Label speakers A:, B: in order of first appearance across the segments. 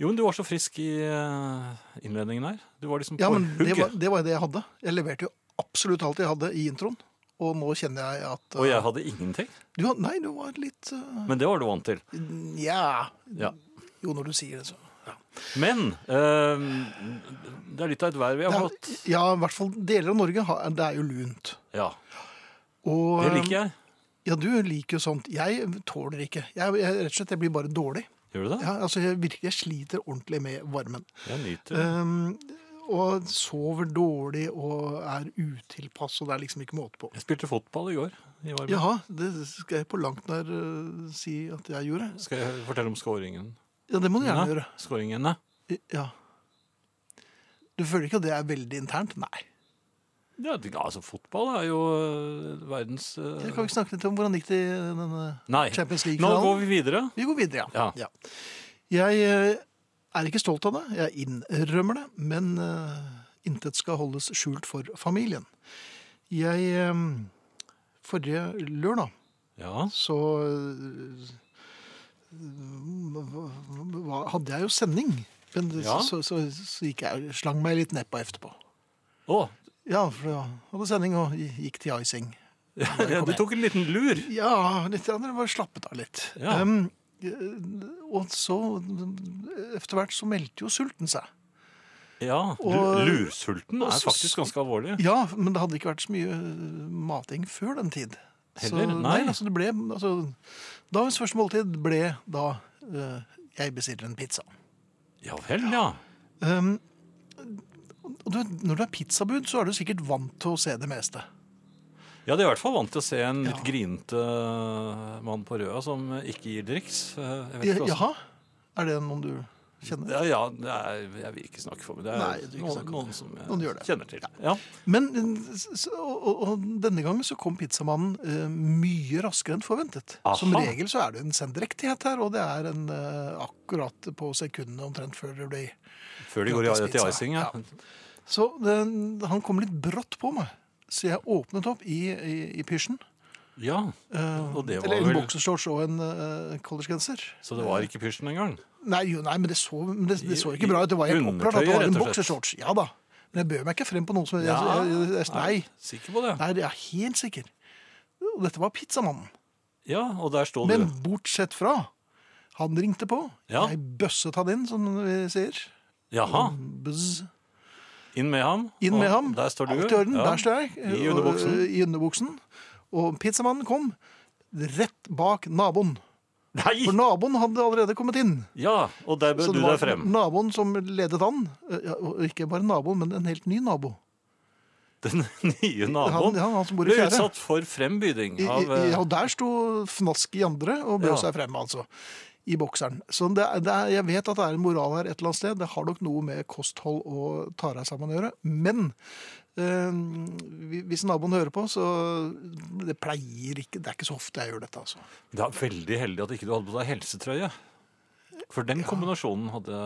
A: Jo, men du var så frisk i eh, innledningen her. Du var liksom på
B: Ja, men det
A: hugget.
B: var, det var jo det jeg hadde. Jeg leverte jo absolutt alt jeg hadde i introen. Og nå kjenner jeg at eh,
A: Og jeg hadde ingenting.
B: du, had- Nei, du var litt eh,
A: Men det var du vant til.
B: Nja
A: Ja.
B: Jo, når du sier det, så. Ja.
A: Men eh, det er litt av et vær vi har fått.
B: Det er- ja, i hvert fall deler av Norge. har- Det er jo lunt.
A: Ja,
B: Og, eh,
A: Det
B: Um,
A: liker jeg.
B: Ja, du liker jo sånt. Jeg tåler ikke. Jeg, jeg, rett og slett, jeg blir bare dårlig.
A: Gjør du det?
B: Ja, altså, jeg, virkelig, jeg sliter ordentlig med varmen.
A: Jeg nyter det.
B: Um, og sover dårlig og er utilpass, og det er liksom ikke måte på.
A: Jeg spilte fotball i går. I varmen.
B: Jaha, det skal jeg på langt nær uh, si at jeg gjorde.
A: Skal jeg fortelle om scoringen?
B: Ja, det må du gjerne gjøre.
A: Scoringene.
B: I- Ja. Du føler ikke at det er veldig internt? Nei.
A: Ja, det- altså, fotball er jo eh, verdens eh,
B: Jeg kan vi snakke litt om hvordan det gikk det i denne
A: Nei.
B: Champions
A: Nå går
B: League-finalen?
A: vi videre.
B: Vi går videre, ja.
A: Ja.
B: ja. Jeg uh, er ikke stolt av det, jeg innrømmer det, men uh, intet skal holdes skjult for familien. Jeg um, Forrige lørdag
A: Ja.
B: så øh, hva- hadde jeg jo sending. Men det-
A: Ja.
B: så, så, så gikk jeg, slang meg litt nedpå etterpå.
A: Å,
B: Ja, for jeg hadde sending og gikk til icing.
A: ja, du tok en liten lur.
B: Ja, litt, ja, det var slappet av litt.
A: Ja.
B: Ehm, og så, etter hvert så meldte jo sulten seg.
A: Ja, lu-
B: Og-
A: lursulten
B: og
A: er
B: så-
A: faktisk ganske alvorlig.
B: Ja, men det hadde ikke vært så mye øh, mating før den tid.
A: Heller? Nei.
B: altså det ble, altså, dagens første måltid ble da øh, jeg bestiller en pizza.
A: Ja vel, ja.
B: Um, og du, når det er pizzabud, så er du sikkert vant til å se det meste.
A: Ja, det er i hvert fall vant til å se en
B: Ja.
A: litt grinete eh, mann på røda som eh, ikke gir driks. Eh, Jeg vet
B: Ja,
A: ikke hva som-
B: Jaha? Er det noen du kjenner?
A: Ja, ja, det er, jeg vil ikke snakke for meg. Det er
B: Nei, du vil ikke snakke
A: noen,
B: om
A: noen
B: det.
A: som jeg
B: Noen gjør det.
A: kjenner til. Ja.
B: Men eh, s- s- og, og- og denne gangen så kom pizzamannen eh, mye raskere enn forventet.
A: Aha.
B: Som regel så er det en sendrektighet her, og det er en eh, akkurat på sekundene omtrent før det blir
A: Før de går i, til icing, ja.
B: Så den, han kom litt brått på meg. Så jeg åpnet opp i, i, i pysjen.
A: ja.
B: eh,
A: Og det var
B: eller en
A: vel-
B: boksershorts og en eh, collegegenser.
A: Så det var ikke pysjen engang.
B: Nei, jo, nei men, det så, men det, det så
A: I-
B: ikke bra ut. Det var helt opprørt at det
A: undertøyet,
B: var en
A: rett og slett.
B: boksershorts. Ja da. Men jeg bød meg ikke frem på noe som jeg,
A: Ja,
B: jeg, jeg, jeg,
A: er
B: Nei,
A: du Sikker på det?
B: nei, jeg er helt sikker. Og dette var pizzamannen.
A: Ja, og der står
B: Men
A: du.
B: bortsett fra Han ringte på.
A: Ja.
B: Jeg bøsset han inn, som vi sier.
A: Jaha,
B: Buzz.
A: inn med ham.
B: Inn
A: og
B: med ham.
A: Der står du.
B: Alt i orden.
A: Ja.
B: Der står jeg.
A: I underbuksen.
B: Og, eh, I underbuksen. Og pizzamannen kom rett bak naboen. For
A: Nei!
B: naboen hadde allerede kommet inn.
A: Ja, og der bød
B: Så
A: du
B: det
A: deg
B: var
A: frem.
B: naboen som ledet an. Eh, Ja, og Ikke bare naboen, men en helt ny nabo.
A: Den nye
B: Han,
A: naboen
B: ja, han som bor i
A: ble
B: fjerde.
A: utsatt for frembyding
B: I,
A: av
B: i,
A: eh,
B: ja, der sto Fnask i andre og brød
A: Ja.
B: seg frem, altså. I bokseren. Så det, er- det er, jeg vet at det er en moral her et eller annet sted. Det har nok noe med kosthold og ta deg sammen å gjøre. Men eh, hvis naboen hører på, så Det pleier ikke Det er ikke så ofte jeg gjør dette, altså.
A: Det er veldig heldig at ikke du hadde på deg helsetrøye. For den kombinasjonen hadde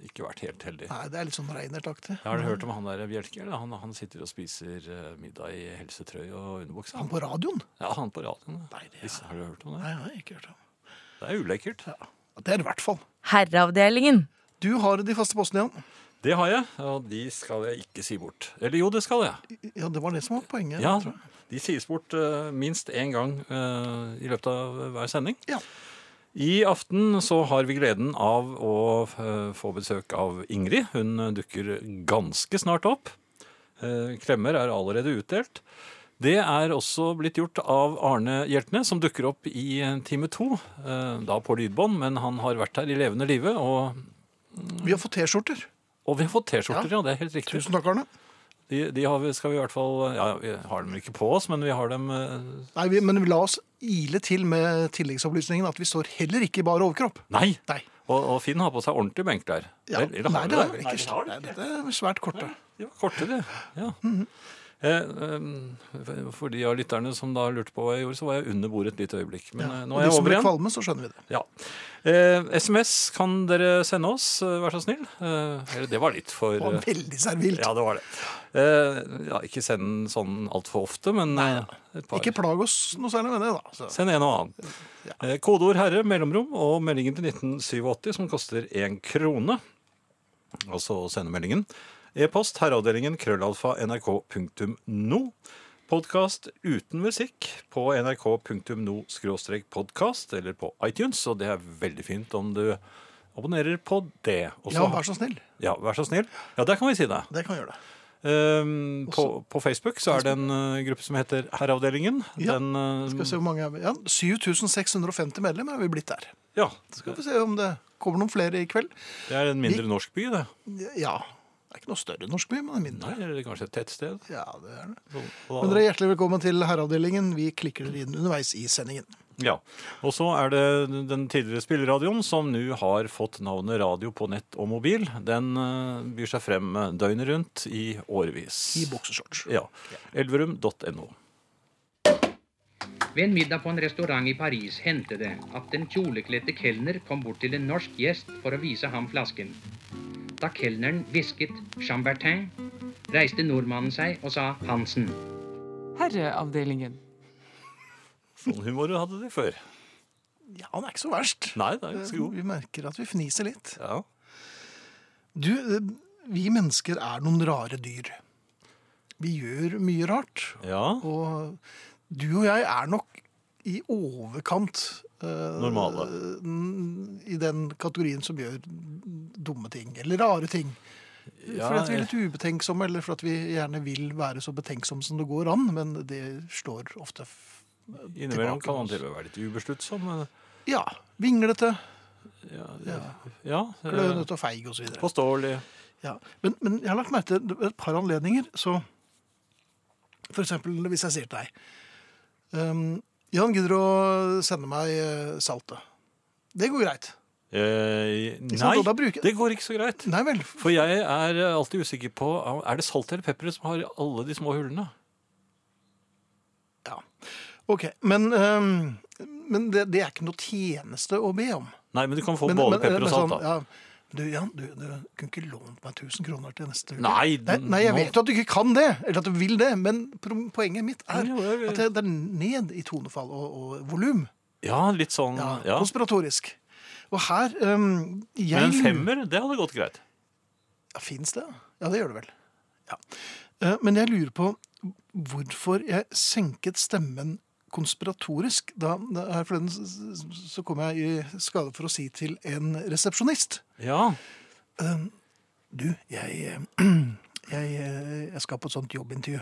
A: ikke vært helt heldig.
B: Nei, det er litt sånn reinertaktig.
A: Jeg har hørt om han der Bjelke. eller? Han, han sitter og spiser eh, middag i helsetrøye og underbukse.
B: Han på radioen?
A: Ja, han på radioen.
B: Nei, det er-
A: Visst, Har du hørt om det?
B: Nei, jeg har ikke hørt om.
A: Det er ulekkert.
B: Det er det i hvert fall.
C: Herreavdelingen.
B: Du har de faste postene igjen.
A: Det har jeg, og de skal jeg ikke si bort. Eller jo, det skal jeg.
B: Ja, det var det som var poenget.
A: Ja,
B: tror jeg.
A: De sies bort eh, minst én gang eh, i løpet av hver sending.
B: Ja.
A: I aften så har vi gleden av å eh, få besøk av Ingrid. Hun eh, dukker ganske snart opp. Eh, Klemmer er allerede utdelt. Det er også blitt gjort av Arne Hjeltnes, som dukker opp i eh, time to. eh, Da på lydbånd, men han har vært her i levende live. Og,
B: Vi har fått T-skjorter.
A: og vi har fått T-skjorter, ja. Det er helt riktig.
B: Tusen takk, Arne.
A: De, de har vi, skal vi i hvert fall Ja, vi har dem ikke på oss, men vi har dem eh,
B: Nei, vi, men la oss ile til med tilleggsopplysningen at vi står heller ikke i bar overkropp.
A: Nei!
B: Nei.
A: Og, og Finn har på seg ordentlig benklær.
B: Ja.
A: Eller- eller har
B: Nei,
A: du
B: det er vel
C: Nei,
B: ikke
C: det
B: svært.
C: har de
B: Nei,
C: ikke.
B: det er svært korte.
A: De var korte, de. Ja.
B: Mhm.
A: Eh, eh, For de av lytterne som da lurte på hva jeg gjorde, så var jeg under bordet et lite øyeblikk. Men eh, nå
B: Og
A: er
B: de
A: jeg
B: som
A: over
B: blir
A: igjen.
B: kvalme, så skjønner vi det.
A: Ja. Eh, SMS kan dere sende oss, eh, vær så snill. Eh, eller det var litt for
B: Det var
A: eh,
B: veldig servilt.
A: Ja, det var det. Eh, ja, ikke send den sånn altfor ofte, men eh, et par.
B: Ikke plag oss noe særlig med det, da. Så.
A: Send en og annen. Eh, Kodeord 'herre', mellomrom og meldingen til 1987 som koster én krone. Altså å sende meldingen. E-post herreavdelingen krøllalfa nrk.no. Podkast uten musikk på nrk.no skråstrek podkast eller på iTunes, og det er veldig fint om du abonnerer på det. Og så-
B: Ja, vær så snill.
A: ja, vær så snill. Ja, der kan vi si det.
B: Det kan gjøre det.
A: Ehm, på, på Facebook så er det en eh, gruppe som heter Herreavdelingen.
B: Ja,
A: Den, eh,
B: Skal vi se hvor mange er vi? Ja, 7650 medlemmer er vi blitt der.
A: ja,
B: Skal vi se om det kommer noen flere i kveld.
A: det er en mindre norsk by, det.
B: Ja, det er ikke noe større norsk by, men det er mindre.
A: Nei, eller kanskje et tettsted.
B: Ja, det er det.
A: Og,
B: Men
A: og,
B: dere er hjertelig velkommen til herreavdelingen. Vi klikker dere inn underveis i sendingen.
A: ja. og så er det den tidligere spilleradioen, som nå har fått navnet Radio på nett og mobil. Den eh, byr seg frem eh, døgnet rundt i årevis.
B: I bokseshorts.
A: Ja. Elverum.no.
D: Ved en middag på en restaurant i Paris hendte det at den kjolekledte kelner kom bort til en norsk gjest for å vise ham flasken. Da kelneren hvisket 'Chambertin', reiste nordmannen seg og sa 'Hansen'.
E: Herreavdelingen.
A: Sånn humor hadde de før.
B: Ja, den er ikke så verst. Eh,
A: Nei, det er ganske god.
B: Vi merker at vi fniser litt.
A: Ja.
B: Du, eh, vi mennesker er noen rare dyr. Vi gjør mye rart.
A: ja.
B: Og du og jeg er nok i overkant eh,
A: Normale.
B: n- I den kategorien som gjør dumme ting, eller rare ting.
A: Ja,
B: fordi Eh, at vi er
A: jeg-
B: litt ubetenksomme, eller fordi at vi gjerne vil være så betenksomme som det går an. Men det slår ofte f-
A: Innimellom
B: tilbake
A: kan
B: på
A: man
B: oss.
A: til og med være litt ubesluttsom. men-
B: Ja. Vinglete,
A: Ja, ja eh,
B: klønete og feig osv.
A: Påståelig.
B: Ja, men, men jeg har lagt merke til ved et par anledninger, så for eksempel hvis jeg sier til deg ehm, Jan, gidder du å sende meg eh, saltet? Det går greit.
A: Eh, nei,
B: sant, og da bruker-
A: det går ikke så greit.
B: Nei vel.
A: For jeg er eh, alltid usikker på Er det salt eller pepper som har alle de små hullene?
B: Ja. OK. Men, ehm, men det, det er ikke noe tjeneste å be om.
A: Nei, men du kan få
B: Men-
A: både
B: men-
A: pepper
B: men
A: og salt,
B: sånn,
A: da.
B: ja, du, Jan, du, du kunne ikke lånt meg 1000 kroner til neste uke?
A: Nei,
B: nei, nei, jeg
A: nå-
B: vet jo at du ikke kan det, eller at du vil det, men pro- poenget mitt er
A: Jo, jeg-
B: at det det er ned i tonefall og, og volum.
A: Ja, litt sånn
B: Ja,
A: ja.
B: konspiratorisk. Og her um, jeg,
A: Men en femmer, det hadde gått greit.
B: Ja, Fins det? Ja, det gjør det vel. Ja. Eh, Men jeg lurer på hvorfor jeg senket stemmen konspiratorisk. Da, da her forleden s- s- så kom jeg i skade for å si til en resepsjonist
A: Ja.
B: Du, jeg, eh, jeg, eh, jeg skal på et sånt jobbintervju.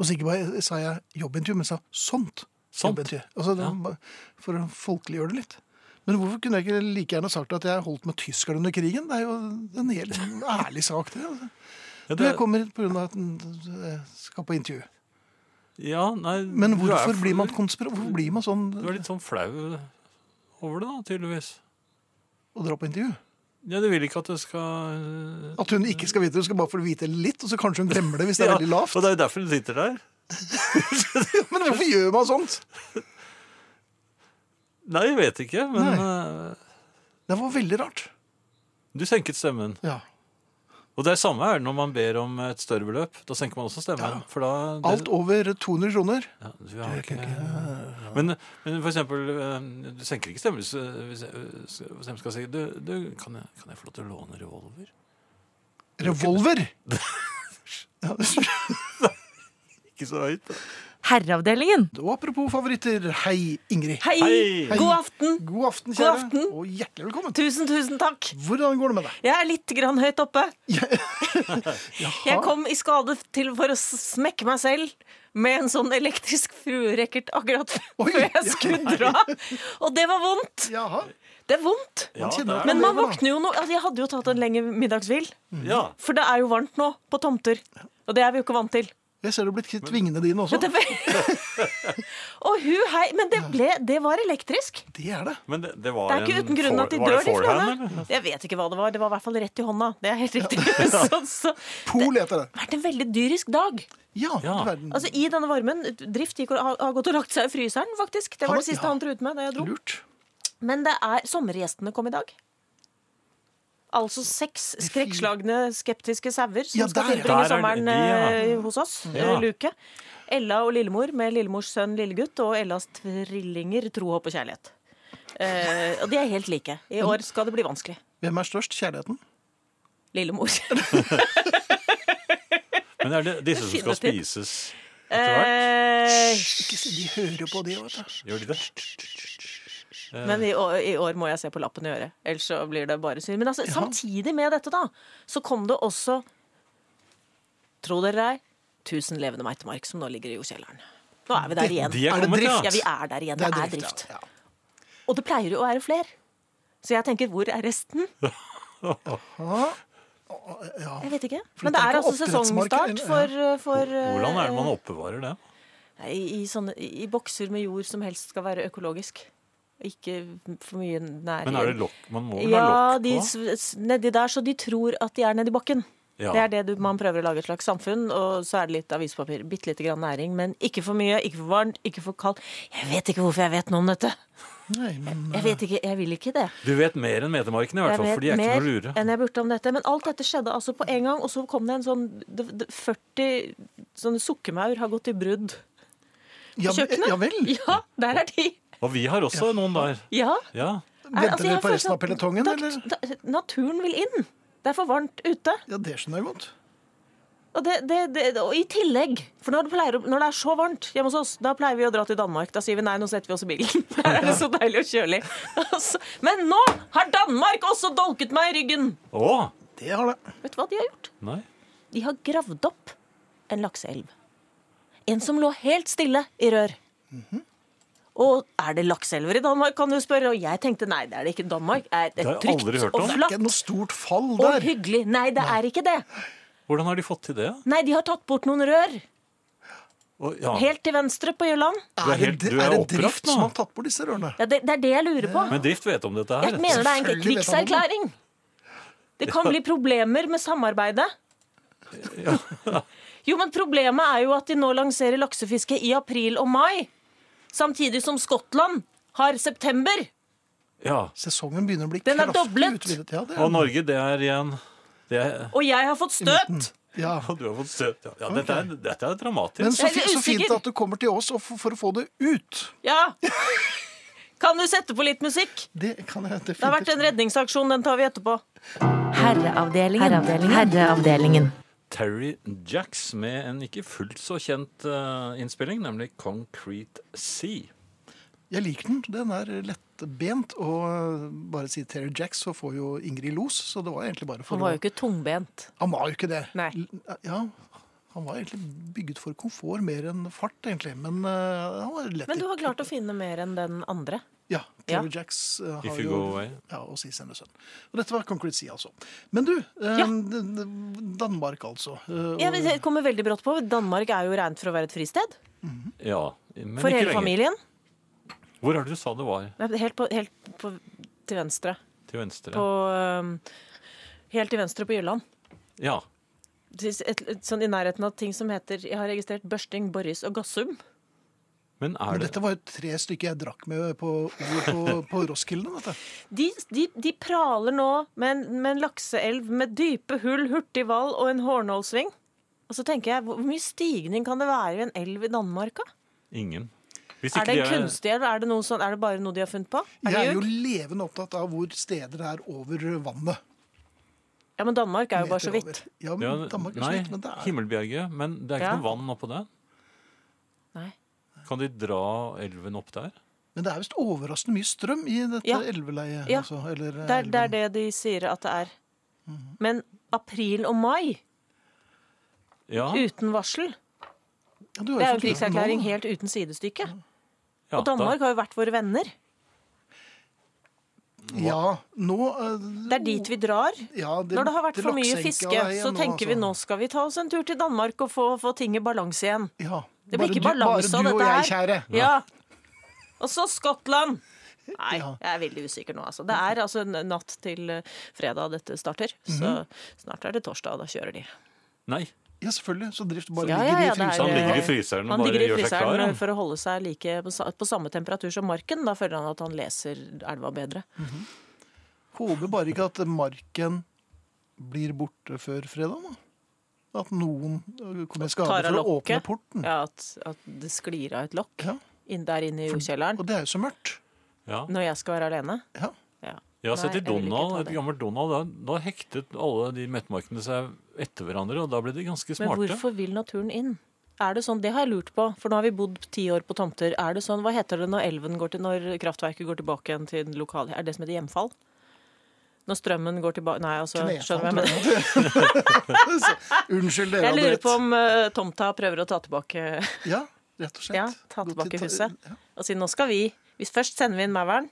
B: Og så ikke bare sa jeg jobbintervju, men sa sånt.
A: Sant.
B: jobbintervju. Altså, det,
A: Ja.
B: var bare For å folkeliggjøre det litt. Men hvorfor kunne jeg ikke like gjerne sagt at jeg holdt med tyskerne under krigen? Det er jo en helt ærlig sak, det. altså.
A: Ja,
B: Du,
A: det,
B: jeg kommer hit pga. at jeg skal på intervju.
A: ja, nei,
B: Men
A: du er
B: hvorfor
A: for-
B: blir man konspira... Hvorfor blir man sånn
A: Du er litt sånn flau over det, da, tydeligvis.
B: å dra på intervju?
A: Ja, Du vil ikke at det skal
B: At hun ikke skal vite det, hun skal bare få vite litt, og så kanskje hun glemmer det hvis det er
A: Ja,
B: veldig lavt.
A: Og det er jo derfor du sitter der.
B: Men hvorfor gjør man sånt?
A: Nei, jeg vet ikke, men eh,
B: Det var veldig rart.
A: du senket stemmen.
B: Ja.
A: Og det er samme er det når man ber om et større beløp. Da senker man også stemmen.
B: Ja.
A: For da, det,
B: Alt over 200 kroner.
A: ja, du har ikke, men, men for eksempel, eh, du senker ikke stemmen hvis, eh, hvis jeg hvis jeg skal si du, du, kan, jeg, kan jeg få lov til å låne revolver?
B: Revolver! Ja.
A: Ikke så høyt.
E: Herreavdelingen.
B: Og apropos favoritter, hei, Ingrid.
E: Hei.
A: Hei.
E: God aften.
B: God aften,
E: God
B: kjære,
E: aften.
B: og hjertelig velkommen.
E: Tusen, tusen takk.
B: Hvordan går det med deg?
E: Jeg er litt grann høyt oppe.
B: Jaha.
E: Jeg kom i skade til for å smekke meg selv med en sånn elektrisk fruerekkert akkurat
B: Oi,
E: før jeg skulle dra. Og det var vondt.
B: Jaha.
E: Det er vondt.
A: Ja,
B: kjenner
A: det
B: at
A: er
E: Men
A: det.
E: man våkner jo nå altså, Jeg hadde jo tatt en lengre middagshvil.
A: ja.
E: For det er jo varmt nå, på tomter. Og det er vi jo ikke vant til.
B: Jeg ser du har blitt kvitt vingene dine også.
E: Men det, og hu hei, men det, ble, det var elektrisk.
B: Det er det.
A: Men det, det var
E: Det er ikke
A: en
E: uten grunn
A: for-
E: at de
A: var
E: dør,
A: det
E: de
A: forehand,
E: skadene.
A: eller?
E: Jeg vet ikke hva det var. Det var i hvert fall rett i hånda. Det er helt riktig. Så, så
B: Pol heter det.
E: vært en veldig dyrisk dag.
B: Ja,
A: Ja.
B: du verden.
E: Altså I denne varmen. Drift gikk og, har, har gått og lagt seg i fryseren, faktisk. Det
B: Han-
E: var det siste
B: ja.
E: han truet med da jeg dro.
B: Lurt.
E: Men det er sommergjestene kom i dag. Altså seks skrekkslagne skeptiske sauer som
B: Ja,
E: skal
B: der, ja.
E: tilbringe
A: Der er
E: sommeren
A: de, ja.
E: eh, hos oss.
A: Ja.
E: eh, Luke. Ella og lillemor med lillemors sønn lillegutt og Ellas trillinger tro, håp og kjærlighet. Eh, og de er helt like. I år skal det bli vanskelig.
B: Hvem er størst? Kjærligheten?
E: Lillemor.
A: Men er det disse som skal
E: Definitivt.
A: spises etter hvert?
E: Eh,
B: Ikke si, De hører på, de. Vet du.
A: Gjør de det?
E: men i år, i år må jeg se på lappen i øret, ellers så blir det bare syr. Men altså, samtidig med dette, da, så kom det også Tro dere det er 1000 levende meitemark som nå ligger i jordkjelleren. Nå er vi der igjen.
A: De er
B: Er det
A: kommet, ja.
B: drift?
E: Ja, vi er der igjen. Det er drift.
B: ja.
E: Og det pleier jo å være flere. Så jeg tenker, hvor er resten? Jeg vet ikke. Men det
B: det er
E: er
B: ikke
E: altså
B: oppdrettsmarker,
E: sesongstart for, for eh,
A: Hvordan er det man oppbevarer det?
E: nei, i, sånne, I bokser med jord som helst skal være økologisk. Ikke for mye nær
A: Men er det lokk? Man må vel ha
E: Ja,
A: lokk
E: de,
A: på?
E: s- s- nedi der, så de tror at de er nedi bakken.
A: Ja.
E: Det er det du, man prøver å lage et slags samfunn, og så er det litt avispapir, bitte lite grann næring, men ikke for mye, ikke for varmt, ikke for kaldt. Jeg vet ikke hvorfor jeg vet noe om dette.
B: Nei, men
E: Jeg vet ikke, jeg vil ikke det.
A: Du vet mer enn metemarkene, i hvert
E: Jeg
A: fall,
E: vet
A: for de er ikke
E: mer
A: noe lure.
E: enn jeg burde om dette. Men alt dette skjedde altså på en gang, og så kom det en sånn d- d- 40 sånne sukkermaur har gått i brudd
B: ja,
E: på kjøkkenet.
B: Ja vel.
E: Ja, der er de.
A: Og vi har også noen der.
E: Ja.
A: Ja.
E: Er-
B: Venter dere
E: altså, jeg
B: på
E: føler
B: resten av
E: at
B: pelotongen,
E: da-
B: eller?
E: da- Naturen vil inn. Det er for varmt ute.
B: Ja, det skjønner jeg godt.
E: Og, det, det, det, og i tillegg, for når det, pleier, å- når det er så varmt hjemme hos oss, da pleier vi å dra til Danmark. Da sier vi nei, nå setter vi oss i bilen. Da er det så deilig og kjølig. Altså, Men nå har Danmark også dolket meg i ryggen!
A: Å!
B: Det har det.
E: Vet du hva de har gjort?
A: Nei.
E: De har gravd opp en lakseelv. En som lå helt stille i rør.
A: Mhm.
E: Og er det lakseelver i Danmark, kan du spørre. Og jeg tenkte nei, det er det ikke. Danmark
A: har
E: er
A: jeg
E: et
A: aldri hørt
E: trygt
A: om. Det
E: og
A: er
B: Ikke
E: flatt
B: noe stort fall
E: og
B: der.
E: hyggelig. Nei, det er ikke det.
A: Hvordan har de fått til det?
E: Nei, de har tatt bort noen rør.
A: Og, ja.
E: Helt til venstre på Jylland.
A: Du er helt-
B: dri-
A: du er
B: er det
A: oppbrakt
B: drift
A: nå.
B: som har tatt bort disse rørene?
E: Ja, det, det er det jeg lurer på.
A: Men Drift vet om dette her.
E: Jeg mener det er en
B: Selvfølgelig vet han om det.
E: krigserklæring. Det kan bli problemer med samarbeidet. Jo, men problemet er jo at de nå lanserer laksefiske i april og mai. Samtidig som Skottland har september.
A: Ja.
B: Sesongen begynner å bli
E: Den er
B: kraftig
E: doblet.
B: utvidet. Ja, det
A: Og
B: er,
A: Norge, det er igjen det er,
E: Og jeg har fått støt!
B: ja.
A: Du har fått støt. Ja, ja dette, er, dette er
B: Men
A: dramatisk.
B: så,
E: Jeg er
B: fi- så fint
E: usikker.
B: at du kommer til oss og for, for å få det ut.
E: Ja. Kan du sette på litt musikk?
B: Det kan jeg
E: Det har vært en
B: definitivt.
E: redningsaksjon. Den tar vi etterpå.
C: Herreavdelingen. Herreavdelingen.
A: Terry Jacks med en ikke fullt så kjent eh, innspilling, nemlig Concrete Sea.
B: Jeg liker den. Den er lettbent. Og øh, bare si Terry Jacks, så får jo Ingrid los. Så det var egentlig bare for
E: Han var jo ikke tungbent.
B: Han var jo ikke det.
E: Nei.
B: L- Ja, han var egentlig bygget for komfort mer enn fart, egentlig. Men øh, han var lett
E: Men du har klart å finne mer enn den andre.
B: Ja.
E: Ja.
B: Terry Jacks øh,
A: If
B: har jo
A: you go away.
B: Ja, og si Sende Sønn. Og dette var Concrete Sea, altså. Men du, øh,
E: Ja.
B: d- d- Danmark, altså. øh,
E: Ja,
B: og-
E: men det kommer veldig brått på. Danmark er jo regnet for å være et fristed.
A: Ja, men
E: For
A: ikke lenger.
E: hele familien.
A: Hvor er det du sa det var?
E: Nei, Helt, på, helt på, til venstre.
A: Til venstre?
E: På, øhm, helt til venstre på Jylland.
A: Ja.
E: Det er Et, et, sånn I nærheten av ting som heter Jeg har registrert Børsting, Borris og Gossum.
A: Men er
B: Men
A: det
B: dette var jo tre stykker jeg drakk med på, på, på Roskilde. Dette.
E: De, de, de praler nå med en, med en lakseelv med dype hull, hurtig vall og en hårnålsving. Og så tenker jeg, Hvor mye stigning kan det være i en elv i Danmark? da?
A: ingen? Hvis
E: Er det
A: de
E: en kunstig elv? Er det, noe sånn, er det bare noe de har funnet på? Er
B: Jeg
E: det
B: er jo
E: ljug?
B: levende opptatt av hvor steder det er over vannet.
E: Ja, Men Danmark er jo
B: Meter
E: bare så vidt.
B: over. Ja, men
A: ja,
B: Danmark er så
A: Nei,
B: vidt, men det er
A: Himmelbjerget. Men det er ikke
E: Ja.
A: noe vann oppå der.
E: Nei.
A: Kan de dra elven opp der?
B: Men det er visst overraskende mye strøm i dette
E: Ja.
B: elveleiet.
E: Ja.
B: Altså, eller
E: Det er, det er
B: elven.
E: det de sier at det er. Men april og mai
A: Ja.
E: uten varsel,
B: Ja, du har
E: det er jo en
B: fått vite det nå,
E: krigserklæring
B: da.
E: helt uten sidestykke.
A: ja
E: Og Danmark har jo vært våre venner.
B: Ja, nå eh,
E: Det er dit vi drar.
B: ja, det
E: Når det har vært
B: lukter
E: for mye
B: laksesenka
E: fiske,
B: veien
E: så tenker vi
B: altså.
E: nå skal vi ta oss en tur til Danmark og få, få ting i balanse igjen.
B: Ja.
E: Det blir ikke balanse av
B: Bare du og
E: dette
B: jeg,
E: her.
B: kjære.
E: Ja. Og så Skottland! Nei,
B: Ja.
E: jeg er veldig usikker nå, altså. Det er altså en natt til eh, fredag dette starter,
B: Mhm.
E: så snart er det torsdag, og da kjører de.
A: Nei.
B: Ja, selvfølgelig. Så drift bare
E: Ja, ja,
B: ligger
E: ja,
B: i
E: det er-
A: Så
B: fryseren.
A: han
E: eh,
A: ligger i fryseren og
E: Han
A: bare
E: ligger i
A: gjør seg klar.
E: fryseren eh,
A: han.
E: for å holde seg like på, sa- på samme temperatur som marken. Da føler han at han leser elva bedre.
B: Håper bare ikke at marken blir borte før fredag, da. At noen eh, kommer i skade
E: Tar av
B: for å åpne
E: lokket.
B: porten.
E: Ja, at, at det sklir av et lokk
B: Ja.
E: inn der inne i jordkjelleren
B: Og det er jo så mørkt.
A: Ja.
E: når jeg skal være alene.
B: Ja.
E: Ja.
A: Jeg har
E: Nei,
A: sett i
E: jeg vil ikke
A: Donald,
E: ta
A: et
E: det.
A: gammelt Donald, da, da hektet alle de mettmarkene seg etter hverandre, og da ble de ganske
E: Men
A: smarte.
E: hvorfor vil naturen inn? Er det sånn, Det har jeg lurt på, for nå har vi bodd ti år på tomter. Er det sånn, Hva heter det når elven går til, når kraftverket går tilbake igjen til den lokale Er det det som heter hjemfall? Når strømmen går tilbake Nei, altså, skjønner du hva jeg mener?
B: Unnskyld, dere
E: Jeg
B: hadde
E: lurer
B: rett.
E: på om eh, tomta prøver å ta tilbake
B: Ja, rett og slett.
E: Ja, ta
B: Gå til
E: tilbake
B: ta-
E: huset.
B: Ja.
E: og si nå skal vi hvis Først sender vi inn Mauren,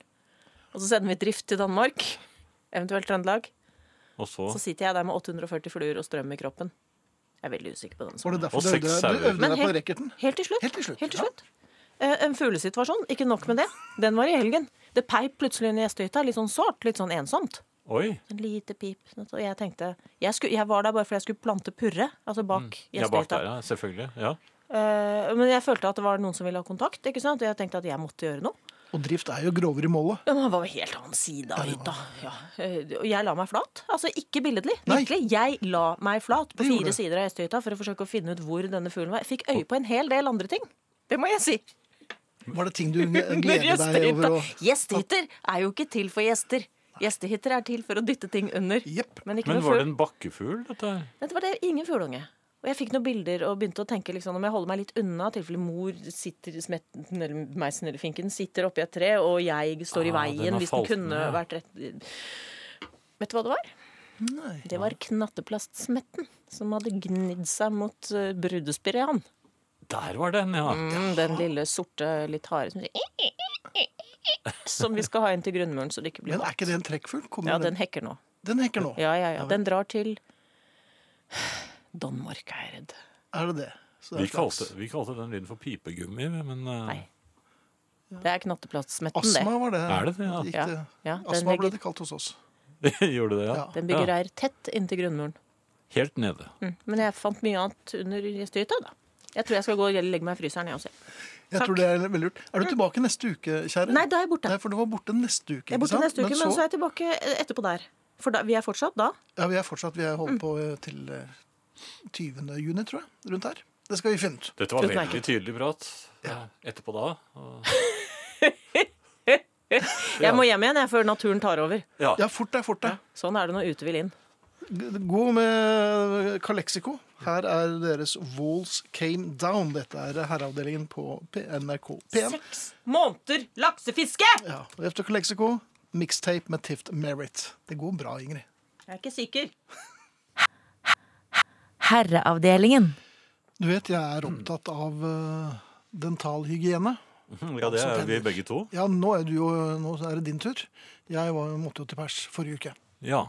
E: og så sender vi drift til Danmark, eventuelt Trøndelag.
A: Og så,
E: Så sitter jeg der med 840 fluer og strøm i kroppen. Jeg er veldig usikker på den.
B: Var det
E: saken.
B: derfor
A: Og
B: du
A: seks
B: øvde,
A: sauer.
B: du øvde
E: Men
B: deg på
E: helt-
B: racketen?
E: Helt til slutt.
B: Helt til slutt, ja.
E: Eh, En fuglesituasjon. Ikke nok med det. Den var i helgen. Det peip plutselig inn i gjestehytta. Litt sånn sårt, litt sånn ensomt.
A: oi,
E: En lite pip. Sånn Og jeg tenkte jeg, skulle, jeg var der bare fordi jeg skulle plante purre. Altså bak
B: Mm.
A: jeg bak
E: gjestehytta.
A: der, ja, selvfølgelig. Ja.
E: Eh, men jeg følte at det var noen som ville ha kontakt, ikke sant? og jeg tenkte at jeg måtte gjøre noe.
B: Og drift er jo grovere i målet.
E: Ja, Men han var jo helt annen side av hytta. Ja. Eh, Og jeg la meg flat. Altså ikke billedlig.
B: Nei.
E: Virkelig. Jeg la meg flat på
B: Det gjorde
E: fire
B: du.
E: sider av gjestehytta for å forsøke å finne ut hvor denne fuglen var. Jeg fikk øye på en hel del andre ting. Det må jeg si.
B: Var det ting du
E: Under
B: gleder deg
E: gjestehytta.
B: over å
E: Gjestehytter er jo ikke til for gjester. Gjestehytter er til for å dytte ting under.
B: Jepp.
E: Men ikke
A: Men
E: noe
A: var
E: fugl.
A: det en bakkefugl, dette her?
E: Dette var det ingen fugleunge. Og jeg fikk noen bilder og begynte å tenke liksom, om jeg holder meg litt unna, i tilfelle mor sitter, smetten, eller meisen eller finken sitter oppi et tre, og jeg står
A: Ah,
E: i
A: den
E: veien
A: har
E: hvis den
A: falt
E: kunne
A: ned, ja.
E: vært rett Vet du hva det var?
B: Nei.
E: Det var knatteplast-smetten som hadde gnidd seg mot uh, brudespirean.
A: Der var den, ja.
E: Mm, den lille sorte, litt harde som sier Som vi skal ha inn til grunnmuren, så det ikke blir
B: Men
E: vann.
B: er ikke det en trekkfugl? Kommer
E: Ja, den hekker nå.
B: den hekker nå.
E: Ja, ja, ja.
B: vel.
E: Den drar til Danmark, er jeg redd.
B: Er det det? Så det
A: Vi
B: er flaks.
A: kalte, vi kalte den lyden for pipegummi, men eh,
E: Nei. Det er knatteplatsmetten, det.
B: Astma var det.
A: Er det det, ja?
B: Gikk
E: Ja,
B: det-
E: ja, den
B: Astma ble
E: ligger-
B: det kalt hos oss.
A: Gjorde det, ja.
B: Ja.
E: Den bygger
A: Ja.
E: reir tett inntil grunnmuren.
A: Helt nede.
E: Mm. Men jeg fant mye annet under gjestehytta, da. Jeg tror jeg skal gå og legge meg i fryseren, jeg også.
B: Jeg tror det er veldig lurt. Er du tilbake neste uke, kjære?
E: Mm. Nei, da er jeg borte.
B: Nei, for du var borte neste uke.
E: Jeg er borte neste uke, men så er jeg tilbake eh, etterpå der. For da, vi er Mm. fortsatt da.
B: Ja, vi er fortsatt, vi er holdt på eh, til eh, 20. juni, tror jeg. Rundt her. Det skal vi finne ut.
A: Dette var
E: Tusen takk.
A: veldig tydelig prat. Etterpå da. og- Ja.
E: Jeg må hjem igjen jeg, før naturen tar over.
A: Ja.
B: Ja, fort deg, fort deg.
E: Sånn er det når ute vil inn.
B: Gå med eh, Calexico. Her er deres Walls Came Down. Dette er herreavdelingen på P- NRK P1.
E: Seks måneder laksefiske!
B: Ja, og Efter Calexico, mixtape med Tift Merit. Det går bra, Ingrid.
E: Jeg er ikke sikker.
C: Herreavdelingen.
B: Du vet, jeg er opptatt av eh, dentalhygiene.
A: ja, det er vi begge to.
B: Ja, nå er, du jo, nå er det din tur. Jeg var, måtte jo til pers forrige uke.
A: Ja.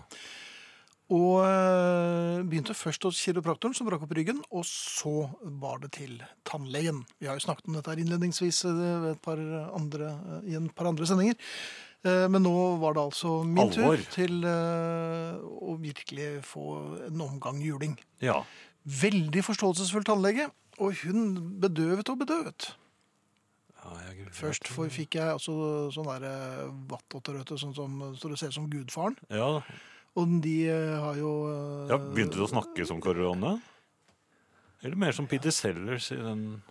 B: Og eh, begynte først hos kiropraktoren, som brakk opp ryggen, og så bar det til tannlegen. Vi har jo snakket om dette her innledningsvis eh, ved et par andre, eh, i en par andre sendinger. Eh, Men nå var det altså min
A: Alvor.
B: tur til eh, å virkelig få en omgang juling.
A: ja.
B: Veldig forståelsesfull tannlege, og hun bedøvet og bedøvet.
A: ja jeg,
B: Først for, fikk jeg altså sånn der vattåtterøte, sånn som så det ser ut som gudfaren.
A: Ja.
B: Og de eh, har jo eh,
A: ja. Begynte du å snakke som korone? Eller mer som Peter Sellers i den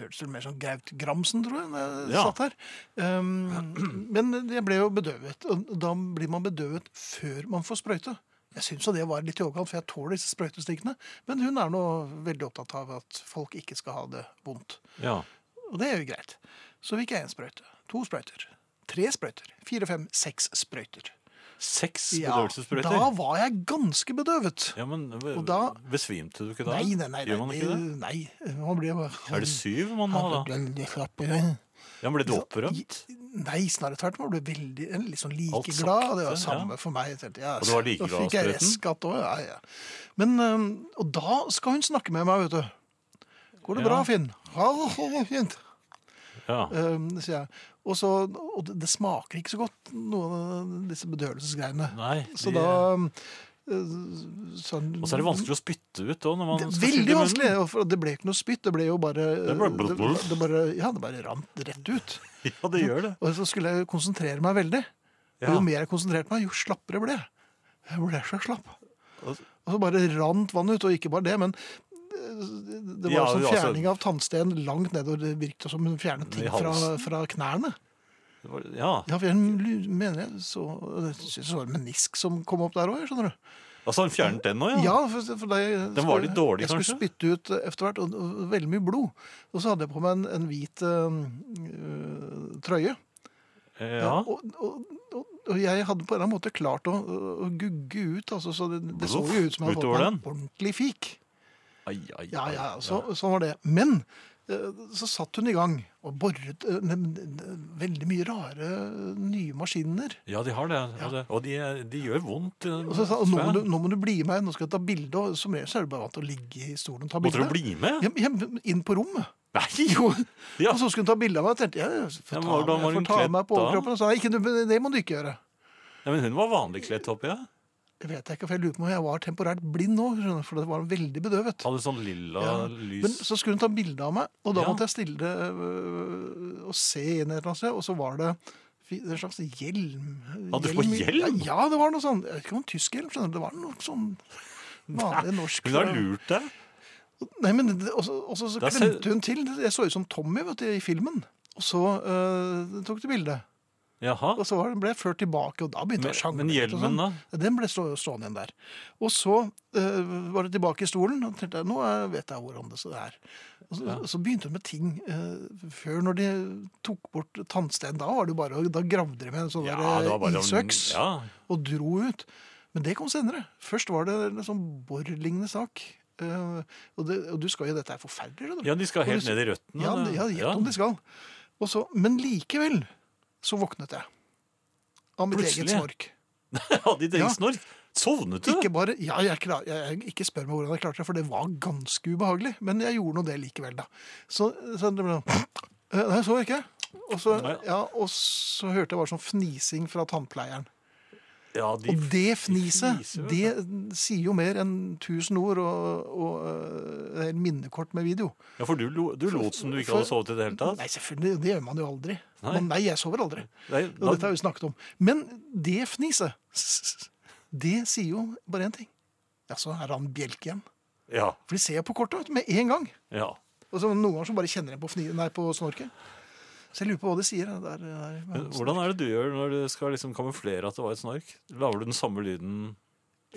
B: hørtes vel mer sånn Gaut Gramsen, tror jeg, når jeg
A: Ja.
B: satt her. Um, men jeg ble jo bedøvet, og da blir man bedøvet før man får sprøyte. Jeg syns jo det var litt i overkant, for jeg tåler disse sprøytestikkene. Men hun er nå veldig opptatt av at folk ikke skal ha det vondt.
A: Ja.
B: Og det er jo greit. Så fikk jeg én sprøyte, to sprøyter, tre sprøyter, fire, fem, seks sprøyter.
A: Seks
B: Ja,
A: bedøvelsessprøyter?
B: Da var jeg ganske bedøvet.
A: Ja, men
B: Og da-
A: besvimte du ikke da?
B: Nei, nei, nei.
A: Gjør man ikke det?
B: Nei, man blir bare
A: Er det syv man må ha da?
B: Ja, det- det slapper jeg.
A: Ja, men Ble du opprømt?
B: Nei, snarere tvert imot. Ble veldig, litt sånn like
A: Alt sakte,
B: glad. og Det var
A: ja.
B: samme for meg. Jeg tenkte, ja,
A: Og du var like
B: da
A: glad,
B: fikk jeg
A: Sprøten?
B: S-skatt også, Ja, ja. Men, øhm, og da skal hun snakke med meg, vet du. Går det
A: Ja.
B: bra, Finn? Ja, det går fint.
A: Ja.
B: Øhm, sier jeg. Og, så, og det, det smaker ikke så godt, noen av disse bedøvelsesgreiene.
A: Nei.
B: Så
A: de-
B: da øh, sånn,
A: Og så er det vanskelig å spytte ut òg.
B: Det er veldig vanskelig, og for det ble ikke noe spytt. Det ble jo bare
A: Det ble blub, blub.
B: det bare, Ja, det bare rant rett ut.
A: Ja, det gjør det.
B: Og så skulle jeg konsentrere meg veldig. Og
A: Ja.
B: jo mer jeg konsentrerte meg, jo slappere ble jeg. Jeg ble så slapp.
A: Og-
B: Og så bare rant vannet ut, og ikke bare det, men det det var
A: Ja,
B: som
A: altså-
B: fjerning av tannsten langt nedover. Det virket som hun fjernet ting
A: I
B: fra,
A: halsen.
B: fra knærne.
A: Det var- Ja.
B: Ja, for jeg lu- mener jeg så, jeg synes det var en menisk som kom opp der òg, skjønner du.
A: Altså, han fjernet den nå, ja?
B: Ja, for, for da jeg,
A: Den var litt dårlig,
B: jeg skulle
A: kanskje?
B: spytte ut etter hvert, og, og veldig mye blod. Og så hadde jeg på meg en, en hvit eh, øh, trøye.
A: Eh, Ja.
B: Og, og, og, og jeg hadde på en eller annen måte klart å, å gugge ut, altså, så det, det så jo ut som jeg hadde fått
A: Utover
B: meg
A: den?
B: en ordentlig fik.
A: Ai, ai,
B: Ja, ja,
A: ai.
B: så, Sånn var det. Men eh, så satt hun i gang og boret eh, ne- ne- veldig mye rare nye maskiner.
A: Ja, de har det. Ja, det. Og de, de gjør vondt. eh,
B: Og så sa hun nå, må du- nå må du bli med, nå skal jeg ta bilde. Og som regel så er du bare vant til å ligge i stolen og ta
A: Måtte
B: bilde.
A: du bli med?
B: Hjem, hjem, inn på rommet.
A: Nei!
B: Jo.
A: Ja.
B: Og så skulle hun ta bilde av meg, og tenkte jeg, jeg
A: Ja,
B: får
A: men
B: ta,
A: hvordan var
B: jeg
A: hun
B: får ta
A: kledd
B: meg på
A: da?
B: overkroppen. Og sa ikke, du- det må du ikke gjøre.
A: Ja, men hun var vanlig kledd, håper jeg.
B: Det vet jeg ikke, for jeg lurer på om jeg var temporært blind nå, skjønner du, for det var veldig bedøvet.
A: Hadde sånn lilla
B: Ja.
A: lys
B: Men så skulle hun ta bilde av meg, og da
A: Ja.
B: måtte jeg stille øh, og se inn et eller annet sted, og så var det fi- en slags hjelm.
A: Hadde du på
B: i-
A: hjelm?
B: Ja, det var noe sånn. Jeg vet ikke om tysk hjelm, skjønner du. Det var noe sånn vanlig norsk.
A: Hun har lurt deg.
B: Nei, men det- også, også så
A: Da ser-
B: klemte hun til. Jeg så ut som Tommy, vet du, i filmen. Og så øh, tok du bildet.
A: Jaha.
B: Og så var den- ble jeg ført tilbake, og da begynte jeg å
A: Men,
B: sjangle.
A: men
B: litt og sånn.
A: hjelmen, da?
B: Den ble stå, stående igjen der. Og så eh, var det tilbake i stolen, og tenkte jeg, nå eh, vet jeg hvordan det så er. Og så, så begynte hun med ting eh, før når de tok bort tannsten. Da var det jo bare, å- da gravde de med en sånn der,
A: det var
B: eh,
A: bare-
B: isøks
A: Ja.
B: og dro ut. Men det kom senere. Først var det en sånn borrlignende sak. Eh, og, det, og du skal jo, dette er forferdelig. skjønner du.
A: ja, de skal helt
B: Og du-
A: ned i røttene.
B: Ja,
A: da.
B: ja gjett om de skal. Og så, men likevel så våknet jeg. Av mitt
A: Plutselig.
B: eget snork.
A: Ja, de
B: Ja.
A: ja. snork. Sovnet du?
B: Ikke bare, ja, jeg, klar, jeg, jeg, ikke spør meg hvordan jeg klarte det, for det var ganske ubehagelig. Men jeg gjorde nå det likevel, da. Så, så det ble sånn «Øh, Nei, så ikke. Og så,
A: Nei.
B: ja, og så hørte jeg bare sånn fnising fra tannpleieren.
A: Ja, de,
B: Og det fniset,
A: fniser,
B: det
A: vet
B: sier jo mer enn tusen ord og, og øh, et minnekort med video.
A: ja, for du, lo- du lot som du ikke hadde sovet i det hele tatt.
B: Nei, selvfølgelig, det gjør man jo aldri.
A: Nei.
B: Men nei, jeg sover aldri.
A: Nei,
B: Og dette
A: da,
B: har vi snakket om. Men det fniset, det sier jo bare én ting. Ja, så er han bjelke igjen.
A: ja,
B: For de ser jo på kortet vet du, med en gang.
A: ja.
B: Og så Noen ganger så bare kjenner jeg på, fni, nei, på snorket. Så jeg lurer på hva de sier. Det er, det er,
A: Men Eh, Hvordan er det du gjør når du skal liksom kamuflere at det var et snork? Lager du den samme lyden?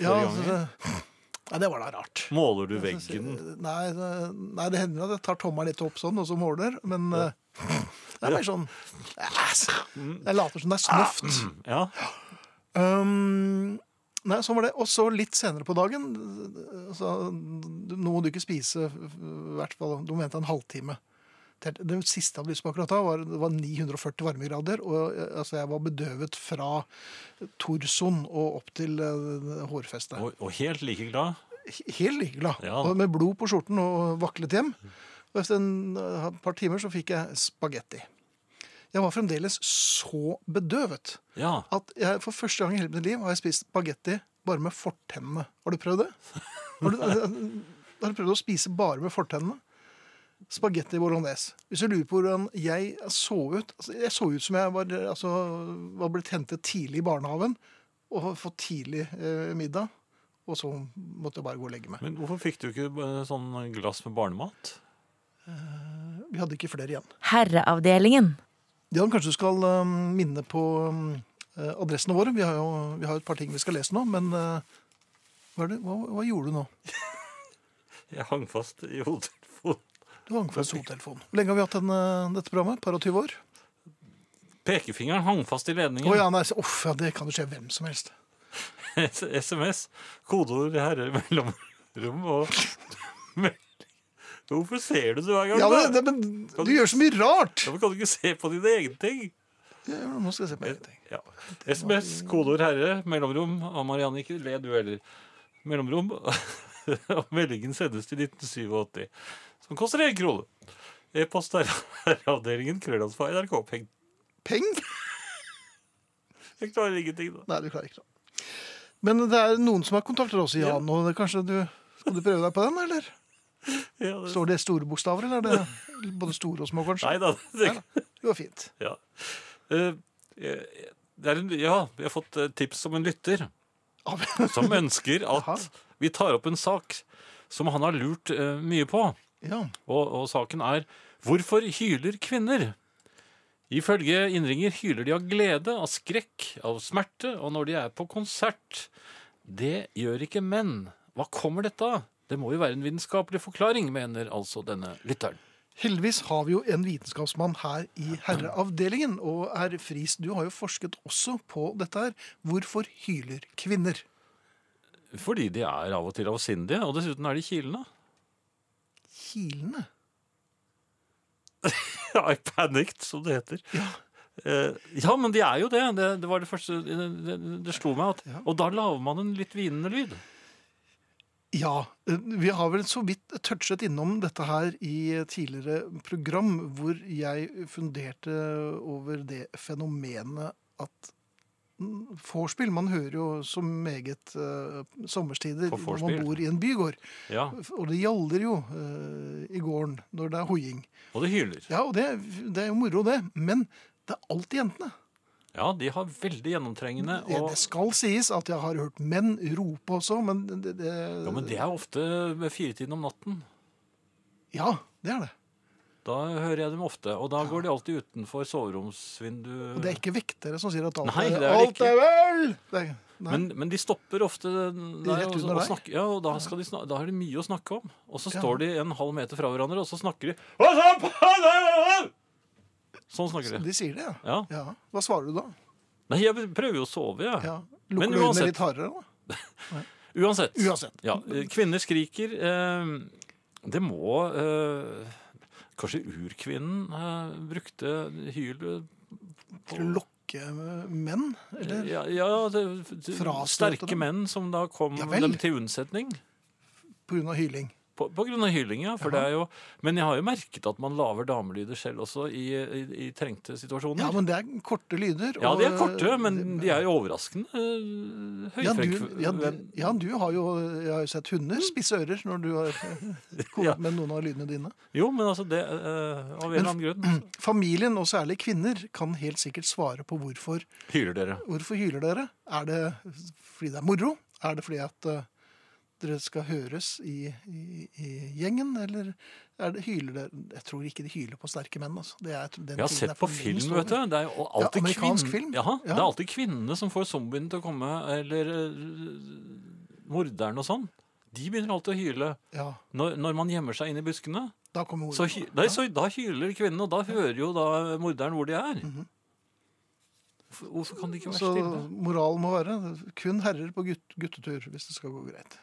B: ja,
A: flere
B: så,
A: ganger?
B: Nei, det var da rart.
A: Måler du
B: Så sier-
A: veggen?
B: Altså, eh, Nei, det- nei, det hender at jeg tar tommelen litt opp sånn, og så måler, men eh, det er mer sånn æs. Jeg later som det er snøft.
A: Ja,
B: Um, nei, sånn var det. Og så litt senere på dagen altså, du- Nå må du ikke spise, i hvert fall. Du må vente en halvtime. Det, det siste jeg hadde lyst på akkurat da, var, det var 940 varmegrader. Og eh, altså, jeg var bedøvet fra torsoen og opp til eh, hårfestet.
A: og, og helt like glad?
B: He- Helt like glad.
A: Ja.
B: Og Med blod på skjorten og vaklet hjem. Og etter en, eh, et par timer så fikk jeg spagetti. Jeg var fremdeles så bedøvet
A: Ja.
B: at jeg for første gang i hele mitt liv har jeg spist spagetti bare med fortennene. Har du prøvd det? Har du, har du prøvd å spise bare med fortennene? Spagetti bolognese. Hvis du lurer på hvordan jeg så ut altså, Jeg så ut som jeg var, altså, var blitt hentet tidlig i barnehagen og har fått tidlig eh, middag. Og så måtte jeg bare gå og legge meg.
A: Men hvorfor fikk du ikke eh, sånn glass med barnemat?
B: Vi hadde ikke flere igjen.
C: Herreavdelingen.
B: Jan, kanskje du skal eh, minne på eh, adressene våre. Vi har jo vi har et par ting vi skal lese nå, men eh, hva, er det, hva, hva gjorde du nå?
A: Jeg hang fast i hodetelefonen.
B: Du hang fast hodetelefonen. Hvor lenge har vi hatt den, eh, dette programmet? Par og tyve år?
A: Pekefingeren hang fast i
B: Å
A: ledningen.
B: ja, nei, så- uff, ja, det kan jo skje hvem som helst.
A: SMS, kodeord herre mellom rom og melding Hvorfor ser du det hver gang?
B: Ja, men,
A: da?
B: det, men du gjør så mye rart!
A: Ja, men kan du ikke se på dine egne ting?
B: Ja, nå skal jeg se på en ting.
A: Ja. SMS, kodeord herre, mellomrom. Ah, Marianne, ikke le du heller. Mellomrom. Og meldingen sendes til 1987, som koster én krone. E-post er herreavdelingen krøllalfa nrk-peng.
B: Peng?
A: Jeg klarer ingenting, da.
B: Nei, du klarer ikke det. Men det er noen som har kontaktet oss, Jan, og det, kanskje du Skal du prøve deg på den, eller?
A: Ja, det...
B: Står det store bokstaver, eller er det både store og små, kanskje?
A: Nei da. Det...
B: Det går fint.
A: Ja. Eh, jeg- det er en, ja, vi har fått eh, tips om en lytter
B: Ah,
A: som ønsker
B: Jaha.
A: at vi tar opp en sak som han har lurt eh, mye på.
B: Ja.
A: Og, og saken er Hvorfor hyler kvinner? Ifølge innringer hyler de av glede, av skrekk, av smerte, og når de er på konsert. Det gjør ikke menn. Hva kommer dette av? Det må jo være en vitenskapelig forklaring, mener altså denne lytteren.
B: Heldigvis har vi jo en vitenskapsmann her i herreavdelingen. Og herr Friis, du har jo forsket også på dette her. Hvorfor hyler kvinner?
A: Fordi de er av og til avsindige, og dessuten er de kilende.
B: Kilene?
A: I panicked, som det heter. Ja. ja, men de er jo det. Det, det var det første Det, det, det slo meg at
B: Ja.
A: Og da lager man en litt hvinende lyd.
B: Ja. eh, Vi har vel så vidt touchet innom dette her i et tidligere program, hvor jeg funderte over det fenomenet at mm, vorspiel Man hører jo så meget eh, sommerstider
A: På
B: når
A: vorspiel.
B: man bor i en bygård.
A: Ja,
B: Og det gjaller jo eh, i gården når det er hoiing.
A: Og det hyler.
B: Ja, og det, det er jo moro, det. Men det er alltid jentene.
A: Ja, de har veldig gjennomtrengende
B: Det,
A: og
B: det skal sies at jeg har hørt menn rope også, men det, det,
A: Ja, men det er ofte ved firetiden om natten.
B: Ja, det er det.
A: Da hører jeg dem ofte. Og da går de alltid utenfor soveromsvinduet.
B: Og det er ikke vektere som sier at alt,
A: Nei, det er
B: er,
A: det
B: alt
A: ikke.
B: er vel! Det er, nei.
A: Men, men de stopper ofte der,
B: rett
A: og,
B: under
A: og
B: deg.
A: snakker, ja, og da, skal de snak, da har de mye å snakke om. Og så
B: Ja.
A: står de en halv meter fra hverandre, og så snakker de Sånn snakker de.
B: de sier det, ja.
A: Ja.
B: ja. Hva svarer du da?
A: Nei, jeg prøver jo å sove, jeg.
B: Ja.
A: Men
B: Lukker du øynene
A: uansett-
B: litt hardere, da?
A: Uansett.
B: Uansett.
A: Ja, eh, kvinner skriker. Eh, det må eh, Kanskje urkvinnen eh, brukte hyl eh,
B: Til å lokke eh, menn? Eller
A: Ja, ja det, det,
B: Frastøte
A: sterke
B: dem?
A: menn som da kom
B: Ja vel.
A: dem til unnsetning.
B: på grunn av hyling?
A: På, på grunn av hyling, ja. For det er jo, men jeg har jo merket at man lager damelyder selv også i, i, i trengte situasjoner.
B: Ja, men det er korte lyder.
A: Ja,
B: og- eh,
A: de er korte, men de er jo overraskende uh,
B: Ja du,
A: høyfrekvente.
B: ja, du, ja, du har jo, jeg har jo sett hunder spisse ører når du har kommet
A: Mm. Ja.
B: med noen av lydene dine.
A: Jo, men altså det eh, Av en eller annen grunn så
B: Familien, og særlig kvinner, kan helt sikkert svare på hvorfor.
A: hyler dere.
B: Hvorfor hyler dere? Er det fordi det er moro? Er det fordi at eh, dere skal høres i, i, i gjengen? Eller er det hyler dere? Jeg tror ikke de hyler på sterke menn. Altså. Det er, den
A: Jeg har
B: tiden
A: sett
B: er
A: på
B: for lenge
A: film,
B: over.
A: vet du. Det er jo alltid
B: amerikansk
A: kvinn-
B: film.
A: Jaha,
B: Ja.
A: Det er alltid kvinnene som får zombiene til å komme, eller eh, morderen og sånn. De begynner alltid å hyle
B: Ja,
A: når, når man gjemmer seg inn i buskene.
B: da kommer
A: Så,
B: ordet.
A: hy- nei, så da hyler kvinnene, og da hører jo da morderen hvor de er. Hvorfor, hvorfor kan de ikke være
B: Så
A: stille?
B: moralen må være kun herrer på gutt, guttetur hvis det skal gå greit.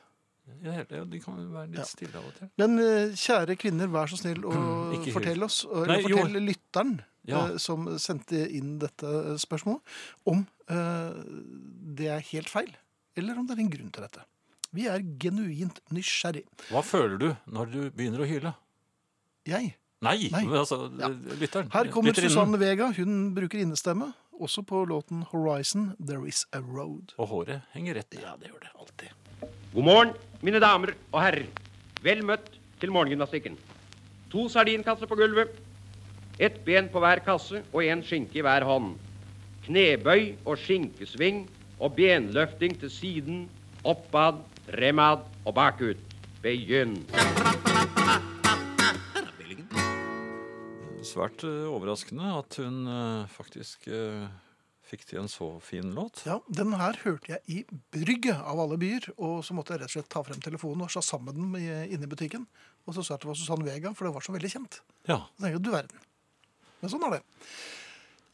A: Ja, helt- ja, de kan jo være litt stille av og til.
B: Men eh, kjære kvinner, vær så snill å
A: ikke hyl.
B: fortelle oss, eller
A: Nei, jo.
B: fortell lytteren
A: Ja.
B: eh, som sendte inn dette spørsmålet, om eh, det er helt feil, eller om det er en grunn til dette. Vi er genuint nysgjerrig.
A: Hva føler du når du begynner å hyle?
B: Jeg.
A: Nei,
B: Nei.
A: men altså,
B: Ja.
A: lytteren.
B: Her kommer
A: lytterinnen.
B: Susanne Vega. Hun bruker innestemme, også på låten 'Horizon There Is A Road'.
A: Og håret henger rett. Ja, det gjør det alltid.
F: God morgen, mine damer og herrer. Vel møtt til morgengymnastikken. To sardinkasser på gulvet. Ett ben på hver kasse og én skinke i hver hånd. Knebøy og skinkesving og benløfting til siden, oppad, remad og bakut. Begynn.
A: Svært eh, overraskende at hun eh, faktisk eh, fikk til en så fin låt.
B: Ja, Den her hørte jeg i Brygge, av alle byer. Og så måtte jeg rett og slett ta frem telefonen og slå sammen den i- inne i butikken. Og så sa jeg at det var Susanne Vega, for det var så veldig kjent.
A: Ja,
B: Så tenker jeg, du verden. Men sånn er det.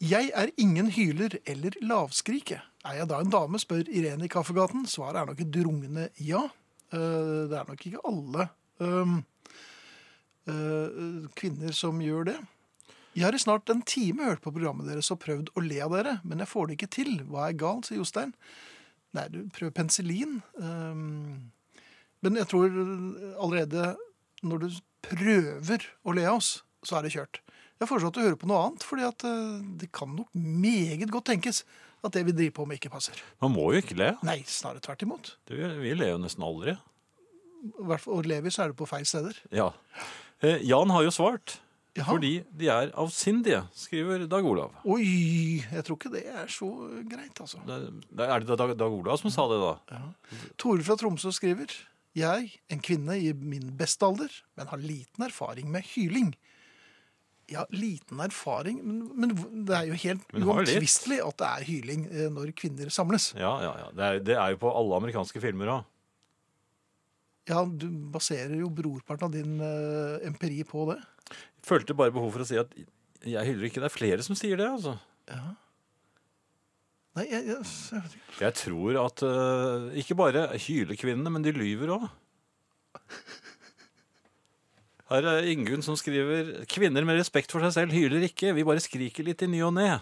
B: Jeg er ingen hyler eller lavskrike. Er jeg da en dame, spør Irene i Kaffegaten. Svaret er nok et rungende ja. Eh, Det er nok ikke alle. Um, ehm, eh, kvinner som gjør det. Jeg har i snart en time hørt på programmet deres og prøvd å le av dere, men jeg får det ikke til. Hva er galt, sier Jostein. Nei, du prøver penicillin. ehm, men jeg tror eh, allerede når du prøver å le av oss, så er det kjørt. Jeg foreslår at du hører på noe annet, fordi at eh, det kan nok meget godt tenkes at det vi driver på med, ikke passer.
A: Man må jo ikke le.
B: Nei, snarere tvert imot.
A: Det- Vi ler jo nesten aldri.
B: I hvert fall- Og lever så er det på feil steder.
A: Ja. Eh, Jan har jo svart.
B: Jaha.
A: Fordi de er avsindige, skriver Dag Olav.
B: Oi, jeg tror ikke det er så greit, altså.
A: Det Er det er det Dag, Dag Olav som sa det, da?
B: Tore fra Tromsø skriver Jeg, en kvinne i min beste alder, men har liten erfaring med hyling. Ja, liten erfaring, men, men det er jo helt
A: Men har litt.
B: uomtvistelig at det er hyling eh, når kvinner samles.
A: Ja, ja, ja. Det er, det er jo på alle amerikanske filmer òg.
B: Ja, du baserer jo brorparten av din eh, empiri på det.
A: Følte bare behov for å si at jeg hyller ikke. Det er flere som sier det, altså.
B: Nei, jeg, jeg, jeg vet ikke.
A: Jeg tror at eh, ikke bare hyler kvinnene, men de lyver òg. Her er Ingunn som skriver Kvinner med respekt for seg selv hyler ikke. Vi bare skriker litt i ny og ne.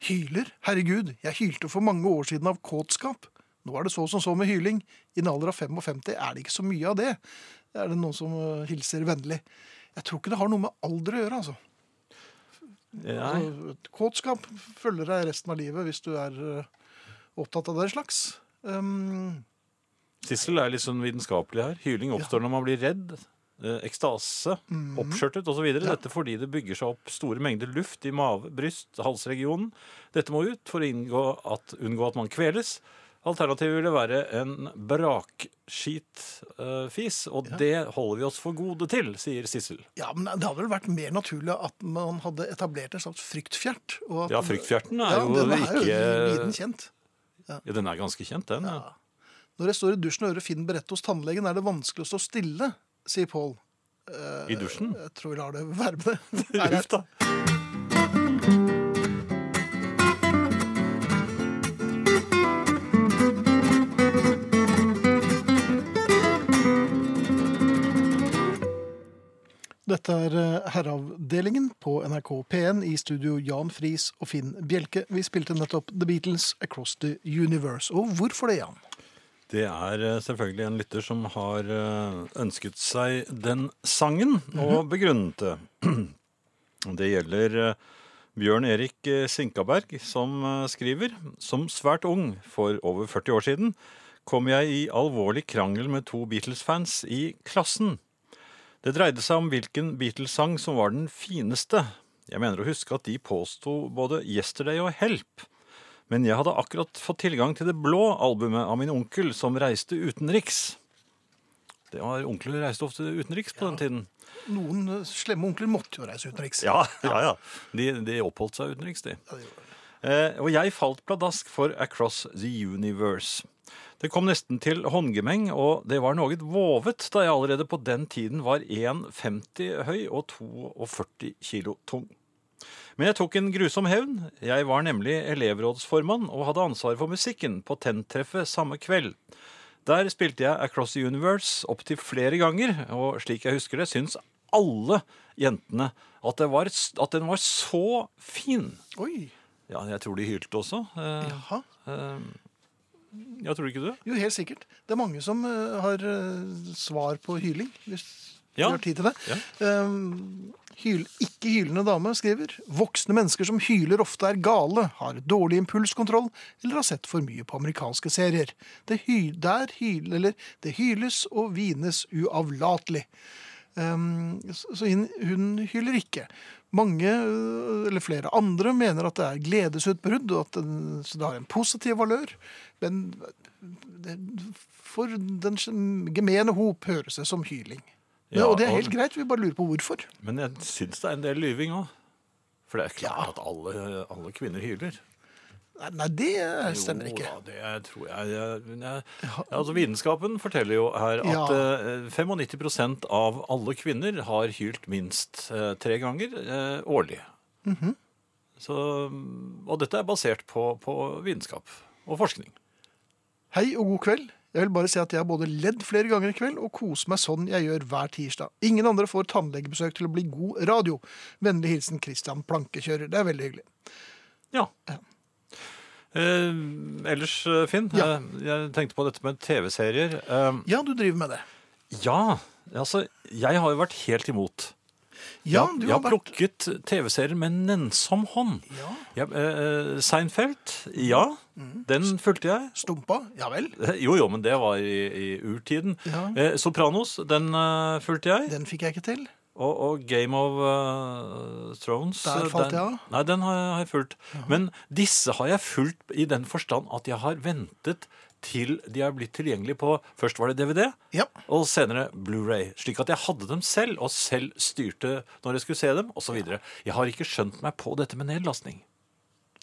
B: Hyler? Herregud, jeg hylte for mange år siden av kåtskap. Nå er det så som så med hyling. I en alder av 55 er det ikke så mye av det. Er det noen som eh, hilser vennlig? Jeg tror ikke det har noe med alder å gjøre, altså.
A: Nei.
B: Altså, Kåtskap følger deg resten av livet hvis du er eh, opptatt av den slags. Um,
A: Sissel er litt sånn vitenskapelig her. Hyling oppstår når man blir redd. eh, Ekstase,
B: Mhm.
A: oppskjørtet osv. videre. Dette fordi det bygger seg opp store mengder luft i mave, bryst, halsregionen. Dette må ut for å inngå at, unngå at man kveles. Alternativet ville være en brakskitfis, og det holder vi oss for gode til, sier Sissel.
B: ja, men Det hadde vel vært mer naturlig at man hadde etablert et slags fryktfjert. og at-
A: Ja, fryktfjerten er
B: Ja,
A: jo
B: den er jo viden
A: ikke
B: kjent.
A: ja, Den er ganske kjent, den. Ja.
B: Når jeg står i dusjen og hører Finn berette hos tannlegen, er det vanskelig å stå stille, sier Pål.
A: I dusjen.
B: Jeg tror vi lar det være med det. Her er-
A: Uff, da.
B: Dette er eh, Herreavdelingen på NRK P1 i studio Jan Friis og Finn Bjelke. Vi spilte nettopp The Beatles Across the Universe. Og hvorfor det, Jan?
A: Det er eh, selvfølgelig en lytter som har eh, ønsket seg den sangen, og begrunnet det. Det gjelder eh, Bjørn Erik eh, Sinkaberg, som eh, skriver Som svært ung, for over 40 år siden, kom jeg i alvorlig krangel med to Beatles-fans i klassen. Det dreide seg om hvilken Beatles-sang som var den fineste. Jeg mener å huske at de påsto både 'Yesterday' og 'Help'. Men jeg hadde akkurat fått tilgang til det blå albumet av min onkel som reiste utenriks. Det var Onkler reiste ofte utenriks på den tiden.
B: Noen eh, slemme onkler måtte jo reise utenriks.
A: Ja, ja, ja. De, de oppholdt seg utenriks, de. Eh, og jeg falt pladask for Across the Universe. Det kom nesten til håndgemeng, og det var noe vovet da jeg allerede på den tiden var 1,50 høy og 42 kilo tung. Men jeg tok en grusom hevn. Jeg var nemlig elevrådsformann og hadde ansvar for musikken på Tenn-treffet samme kveld. Der spilte jeg Across the Universe opptil flere ganger, og slik jeg husker det, syns alle jentene at, det var, at den var så fin.
B: Oi,
A: Ja, jeg tror de hylte også. Eh,
B: jaha.
A: ja, tror du ikke du?
B: Jo, helt sikkert. Det er mange som eh, har eh, svar på hyling, hvis vi
A: Ja.
B: har tid til det. Um, hyl, ikke hylende dame skriver Voksne mennesker som hyler ofte er gale, har dårlig impulskontroll eller har sett for mye på amerikanske serier. Det, hy, der hyl, eller, det hyles og vines uavlatelig. Um, så så hun, hun hyler ikke. Mange, øh, eller flere andre, mener at det er gledesutbrudd, og at den, så det har en positiv valør. Men øh, det, for den gemene hop høres det som hyling. Men,
A: Ja,
B: og det er
A: og-
B: helt greit, vi bare lurer på hvorfor.
A: Men jeg syns det er en del lyving òg. For det er klart at alle, alle kvinner hyler.
B: Nei, nei det øh, stemmer
A: Jo,
B: ikke.
A: da, det er- tror jeg, jeg, men jeg Altså, Vitenskapen forteller jo her at eh, 95 av alle kvinner har hylt minst eh, tre ganger eh, årlig.
B: Mhm.
A: Så, mm, og dette er basert på, på vitenskap og forskning.
B: Hei og god kveld. Jeg vil bare si at jeg har både ledd flere ganger i kveld og koser meg sånn jeg gjør hver tirsdag. Ingen andre får tannlegebesøk til å bli god radio. Vennlig hilsen Christian Plankekjører. Det er veldig hyggelig.
A: Ja. Eh, ellers, eh, Finn,
B: Ja.
A: eh, jeg tenkte på dette med TV-serier. Eh,
B: Ja, du driver med det.
A: ja, altså, jeg har jo vært helt imot.
B: Ja,
A: jeg,
B: du
A: jeg
B: har
A: har
B: vært
A: plukket TV-serier med en nennsom hånd.
B: Ja. Mm.
A: Jeg, eh, eh, Seinfeld, ja, den fulgte jeg.
B: stumpa. Ja vel.
A: Jo, jo, men det var i, i urtiden.
B: Ja.
A: Eh, Sopranos, den eh, fulgte jeg.
B: Den fikk jeg ikke til.
A: Og, og Game of eh, Thrones.
B: Der
A: eh,
B: falt
A: den,
B: jeg av.
A: Nei, den har jeg, har jeg fulgt. Men disse har jeg fulgt i den forstand at jeg har ventet til de har blitt tilgjengelige på Først var det DVD,
B: Ja.
A: og senere Blu-ray. Slik at jeg hadde dem selv, og selv styrte når jeg skulle se dem, osv. Jeg har ikke skjønt meg på dette med nedlastning.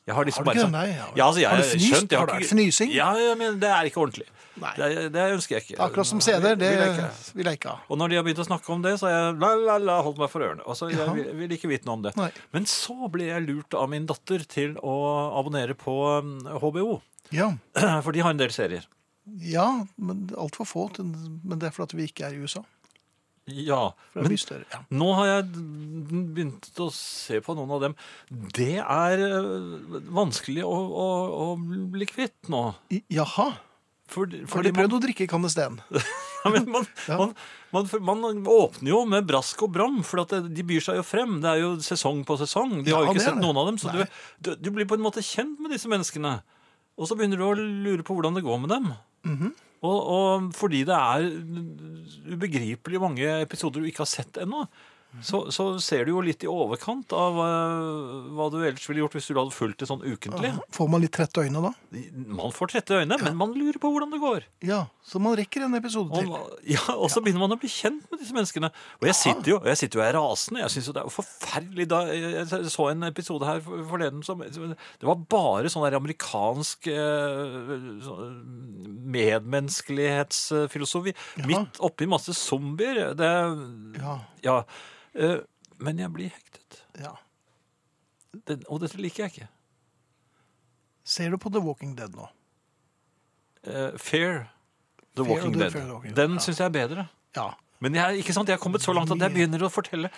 A: Jeg har, liksom
B: Har du ikke
A: bare
B: det? Nei,
A: sagt-
B: ja.
A: ja, altså, jeg,
B: Har du fnyst?
A: skjønt, jeg
B: Har det
A: ikke-
B: vært fnysing?
A: Ja, ja, men det er ikke ordentlig.
B: Nei.
A: Det, det ønsker jeg ikke.
B: Akkurat som CD-er. Det
A: Vil jeg ikke.
B: vil jeg ikke ha.
A: Og når de har begynt å snakke om det, så har jeg la, la, la, holdt meg for ørene. Altså, jeg vil, vil ikke vite noe om det.
B: Nei.
A: Men så ble jeg lurt av min datter til å abonnere på um, HBO,
B: Ja.
A: for de har en del serier.
B: ja, men altfor få. til- Men det er fordi at vi ikke er i USA.
A: Ja,
B: For det er
A: men
B: mye større. Ja.
A: nå har jeg begynt å se på noen av dem. Det er øh, vanskelig å, å, å bli kvitt nå.
B: I- Jaha.
A: For,
B: Har
A: fordi
B: de
A: man,
B: prøvd å drikke Candestan?
A: Ja, men man,
B: Ja.
A: man, man, man åpner jo med brask og bram, for at det- de byr seg jo frem. Det er jo sesong på sesong. De har
B: Ja,
A: jo ikke
B: det er
A: sett
B: det.
A: noen av dem. Så du,
B: Nei.
A: du, du blir på en måte kjent med disse menneskene. Og så begynner du å lure på hvordan det går med dem.
B: Mhm.
A: og, og fordi det er ubegripelig mange episoder du ikke har sett ennå,
B: Mhm.
A: så, så ser du jo litt i overkant av eh, hva du ellers ville gjort hvis du hadde fulgt det sånn ukentlig.
B: Får man litt trette øyne da?
A: Man får trette øyne, men man lurer på hvordan det går.
B: Ja, så man rekker en episode til.
A: Og, ja, og så begynner man å bli kjent med disse menneskene. Og jeg sitter jo, jeg sitter jo her rasende. Jeg synes jo det er jo forferdelig da, Jeg så en episode her for- forleden som som- Det var bare sånn der amerikansk eh, sånn medmenneskelighetsfilosofi. Midt oppi masse zombier. Det
B: Ja,
A: Ja. eh, Men jeg blir hektet.
B: ja.
A: Det, og dette liker jeg ikke.
B: Ser du på The Walking Dead nå?
A: Eh, Fear The
B: Fear
A: Walking
B: the-
A: Dead.
B: Fear the Walking Dead,
A: Den
B: ja.
A: syns jeg er bedre.
B: Ja.
A: Men jeg, ikke sant, jeg har kommet så langt at jeg begynner å fortelle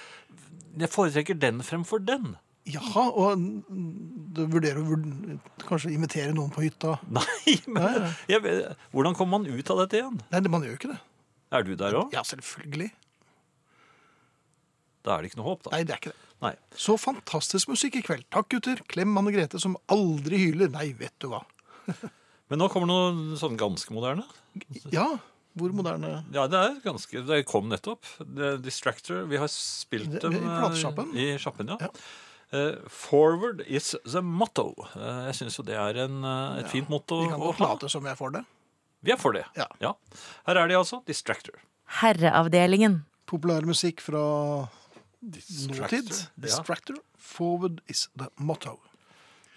A: Jeg foretrekker den fremfor den.
B: Jaha, og du vurderer å vurd- kanskje invitere noen på hytta?
A: Nei, men jeg, vet- Hvordan kommer man ut av dette igjen?
B: Nei, det- man gjør jo ikke det.
A: Er du der òg?
B: Ja, selvfølgelig.
A: Da er det ikke noe håp, da.
B: Nei, det er ikke det.
A: Nei.
B: Så fantastisk musikk i kveld. Takk, gutter. Klem Anne Grete, som aldri hyler. Nei, vet du hva.
A: Men nå kommer noe sånn ganske moderne.
B: Ja, hvor moderne
A: Ja, det er ganske Det kom nettopp. Det er Distractor. Vi har spilt
B: Det-
A: dem
B: i platesjappen.
A: eh, I sjappen, ja.
B: Ja.
A: Eh, forward is the motto. Eh, jeg syns jo det er en, eh, et fint motto.
B: Vi kan
A: å
B: godt
A: ha.
B: late som jeg får det.
A: Vi er for det.
B: Ja.
A: ja. Her er de altså. Distractor.
C: Herreavdelingen.
B: Populær musikk fra nåtid.
A: Ja.
B: Distractor. Forward is the motto.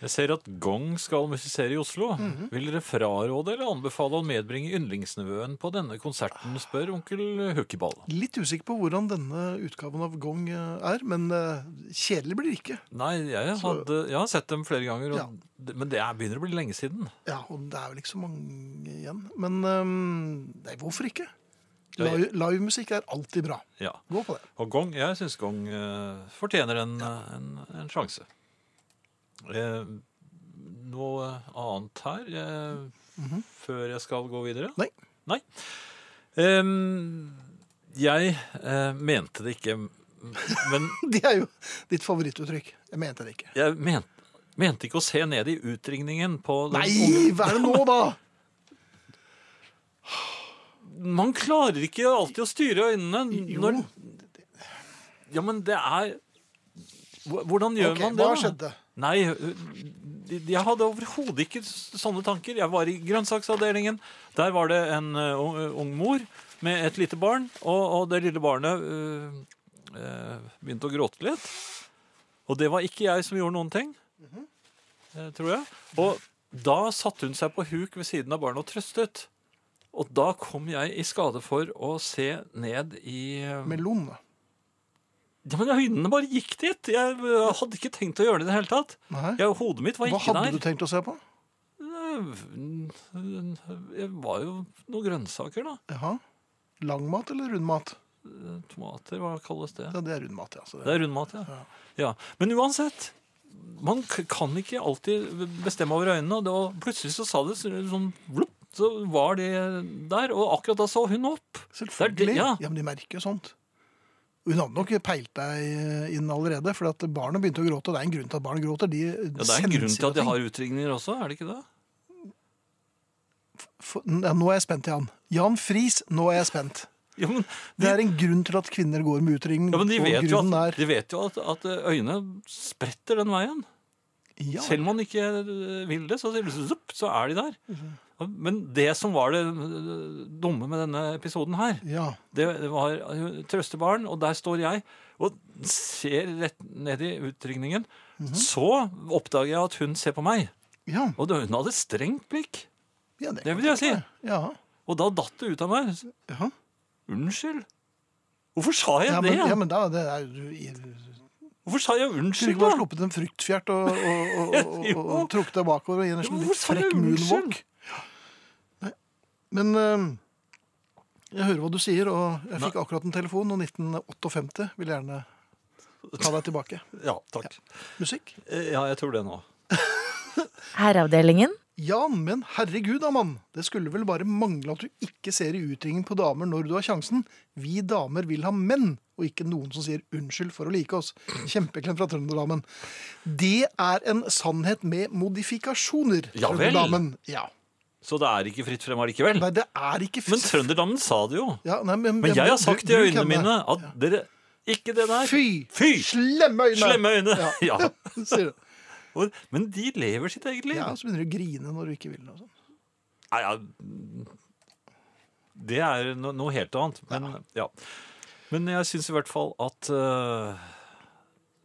A: Jeg ser at Gong skal musisere i Oslo.
B: Mhm.
A: Vil dere fraråde eller anbefale å medbringe yndlingsnivåen på denne konserten, spør onkel Hukkeball.
B: Litt usikker på hvordan denne utgaven av Gong eh, er, men eh, kjedelig blir det ikke.
A: Nei, jeg,
B: Så-
A: hadde, jeg har sett dem flere ganger, og,
B: Ja.
A: det- men det er, begynner å bli lenge siden.
B: Ja, og det er vel ikke så mange igjen. Men eh, nei, hvorfor ikke?
A: Ja,
B: Live-
A: jeg-
B: Livemusikk er alltid bra.
A: Ja.
B: Gå på det.
A: Og Gong, jeg syns Gong eh, fortjener en, en, en sjanse. Eh, noe annet her eh, før jeg skal gå videre?
B: Mhm. Nei.
A: Nei. Em, jeg eh, mente det ikke, men
B: Det er jo ditt favorittuttrykk. Jeg mente det ikke.
A: Jeg ment, mente ikke å se ned i utringningen på den
B: Nei,
A: unge-
B: hva er det nå, da?
A: Man klarer ikke alltid å styre øynene.
B: Jo.
A: Når, ja, men det er Hvo- Hvordan gjør
B: Ok,
A: man det?
B: hva
A: da?
B: skjedde?
A: Nei, øh, jeg hadde overhodet ikke s- sånne tanker. Jeg var i grønnsaksavdelingen. Der var det en øh, ung- øh, ung mor med et lite barn, og, og det lille barnet øh, øh, begynte å gråte litt. Og det var ikke jeg som gjorde noen ting, eh, tror jeg. Og da satte hun seg på huk ved siden av barnet og trøstet. Og da kom jeg i skade for å se ned i øh,
B: Melon. da.
A: ja, men Øynene bare gikk dit. Jeg øh, hadde ikke tenkt å gjøre det i det hele tatt.
B: Nei.
A: Ja, hodet mitt var
B: Hva
A: ikke
B: hadde
A: der.
B: du tenkt å se på?
A: Nei, Det var jo noen grønnsaker, da.
B: Jaha. Langmat eller rundmat?
A: Tomater, hva kalles det?
B: Ja, det er rundmat, ja. Så
A: Det
B: det,
A: er rundmat, ja. ja. Men uansett, man k- kan ikke alltid bestemme over øynene. Og det var, plutselig så sa det så- sånn blupp, så var det der. Og akkurat da så hun opp.
B: Selvfølgelig.
A: Det er det,
B: ja.
A: ja.
B: men de merker jo sånt. Hun hadde nok peilt deg inn allerede, for at barna begynte å gråte. og Det er en grunn til at barn gråter. De
A: Ja, Det er en grunn til at de har utringninger også, er det ikke det?
B: ja, Nå er jeg spent, Jan. Jan Friis, nå er jeg spent.
A: Ja, men
B: Det er en grunn til at kvinner går med utringning.
A: Ja, men de
B: og
A: vet jo
B: grunnen
A: at,
B: er-
A: de vet jo at, at øynene spretter den veien.
B: ja,
A: Selv om man ikke eh, vil det, så, sier det zupp, så er de der.
B: Mhm.
A: Ja, Men det som var det eh, dumme med denne episoden her,
B: ja.
A: det det var eh, trøstebarn, og der står jeg og ser rett ned i utringningen.
B: Mhm.
A: Så oppdager jeg at hun ser på meg,
B: Ja,
A: og det- hun hadde strengt blikk.
B: ja
A: Det vil jeg si.
B: Ja,
A: Og da datt det ut av meg.
B: ja.
A: Unnskyld. Hvorfor sa jeg
B: ja, men,
A: det?
B: ja, men da det er, du, du
A: Hvorfor sa jeg
B: skulle
A: unnskyld?
B: ikke bare
A: da?
B: sluppet en fryktfjert og, og, og, og, og, og trukket deg bakover og gi en
A: Ja,
B: sånn
A: men
B: litt
A: hvorfor er det
B: frekk
A: unnskyld?
B: moonwalk. Nei, Men øhm, jeg hører hva du sier, og jeg fikk akkurat en telefon, og 1958 vil gjerne ta deg tilbake.
A: Ja, takk.
B: Musikk?
A: Eh, Ja, jeg tror det nå.
C: Herreavdelingen.
B: Ja, men herregud da, mann. Det skulle vel bare mangle at du ikke ser i utringen på damer når du har sjansen. Vi damer vil ha menn, og ikke noen som sier unnskyld for å like oss. Kjempeklem fra Trønderdamen. Det er en sannhet med modifikasjoner,
A: Ja vel.
B: Trønderdamen. Ja.
A: Så det er ikke fritt frem allikevel.
B: Nei, det er ikke
A: Men Trønderdammen sa det jo.
B: Ja, nei, men,
A: Men jeg har sagt
B: du-
A: i
B: du
A: øynene
B: kan det.
A: mine at dere Ikke det der.
B: Fy!
A: Fy!
B: Slemme øyne!
A: Slemme øyne. Ja.
B: Sier du.
A: Og- Men de lever sitt eget liv.
B: Ja, så begynner du å grine når du ikke vil noe sånt.
A: Nei, ja. Det er no noe helt annet. Men, ja. men jeg syns i hvert fall at eh,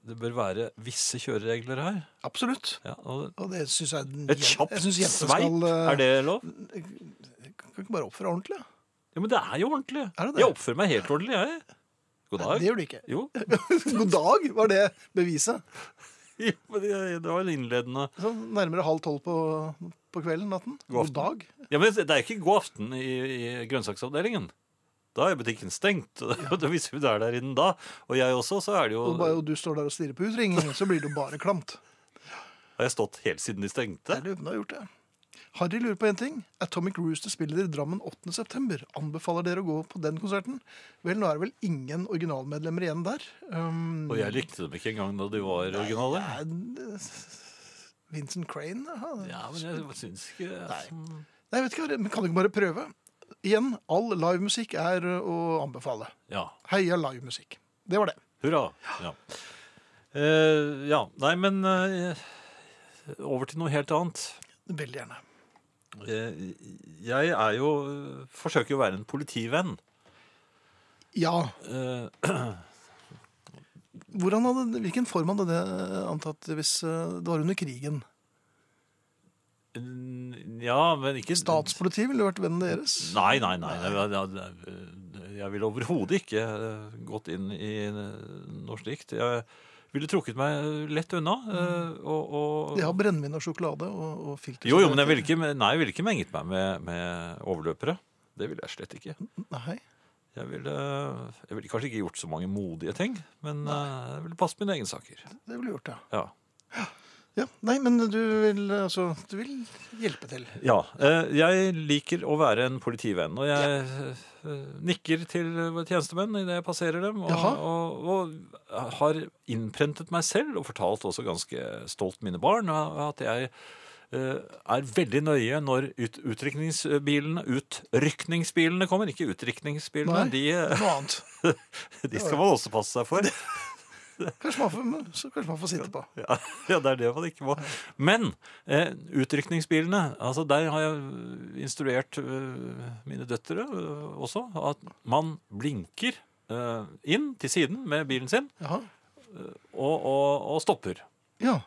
A: det bør være visse kjøreregler her.
B: Absolutt.
A: Ja, og
B: Og det syns jeg
A: et kjapt
B: jeg synes jenter skal,
A: sveip,
B: eh,
A: er det lov?
B: Kan ikke bare oppføre ordentlig? da?
A: Ja, Men det er jo ordentlig.
B: Er det det?
A: Jeg oppfører meg helt ordentlig, jeg. God
B: Nei, det
A: dag.
B: gjør du ikke.
A: Jo,
B: God dag var det beviset.
A: Jo, men det det var en innledende
B: Sånn nærmere halv tolv på, på kvelden, natten. God,
A: aften.
B: dag.
A: Ja, men Det er ikke god aften i, i grønnsaksavdelingen. Da er butikken stengt. og Hvis hun er der inne da, og jeg også, så er det jo
B: Og, bare, og du står der og stirrer på utringningen, så blir du bare klamt.
A: Har jeg stått helt siden de stengte?
B: Det er det hun har gjort, det. Harry lurer på én ting. Atomic Rooster spiller i Drammen 8. september. Anbefaler dere å gå på den konserten? Vel, nå er det vel ingen originalmedlemmer igjen der. Um,
A: Og jeg likte dem ikke engang da de var originale.
B: er det- Vincent Crane? Ja,
A: Ja, men jeg syns ikke Nei.
B: Nei, jeg vet ikke, men kan du ikke bare prøve? Igjen, all livemusikk er eh, å anbefale.
A: Ja.
B: Heia livemusikk. Det var det.
A: Hurra. Ja. Eh, ja. Nei, men eh, over til noe helt annet.
B: Veldig gjerne.
A: Eh, jeg er jo Forsøker jo å være en politivenn.
B: Ja,
A: Eh,
B: Hvordan hadde, Hvilken form hadde det antatt hvis eh, det var under krigen?
A: ja, men ikke
B: Statspolitiet ville vært vennen deres.
A: Nei, nei, nei. nei, nei, nei. Jeg ville overhodet ikke eh, gått inn i eh, noe slikt. Jeg ville trukket meg lett unna. eh, Og, og
B: De har brennevin og sjokolade og, og filter.
A: Jo, jo, men jeg ville ikke, nei, jeg ville ikke menget meg med, med overløpere. Det ville jeg slett ikke.
B: Nei.
A: Jeg ville, jeg ville kanskje ikke gjort så mange modige ting, men eh, jeg ville passe mine egne saker.
B: Det ville du gjort, ja.
A: Ja.
B: ja. Nei, men du vil, altså, du vil hjelpe til.
A: Ja, eh, jeg liker å være en politivenn, og jeg eh, nikker til våre tjenestemenn idet jeg passerer dem, og,
B: Jaha.
A: og, og har innprentet meg selv og fortalt også ganske stolt mine barn at jeg eh, er veldig nøye når ut, utrykningsbilene, utrykningsbilene kommer, ikke utrykningsbilene,
B: Nei.
A: de, eh,
B: Noe annet.
A: de skal man også passe seg for.
B: Kanskje man får, så kanskje man får sitte på.
A: Ja, ja, det er det man ikke må. Men eh, utrykningsbilene, altså der har jeg instruert eh, mine døtre eh, også, at man blinker eh, inn til siden med bilen sin
B: Jaha.
A: og, og, og stopper.
B: Ja.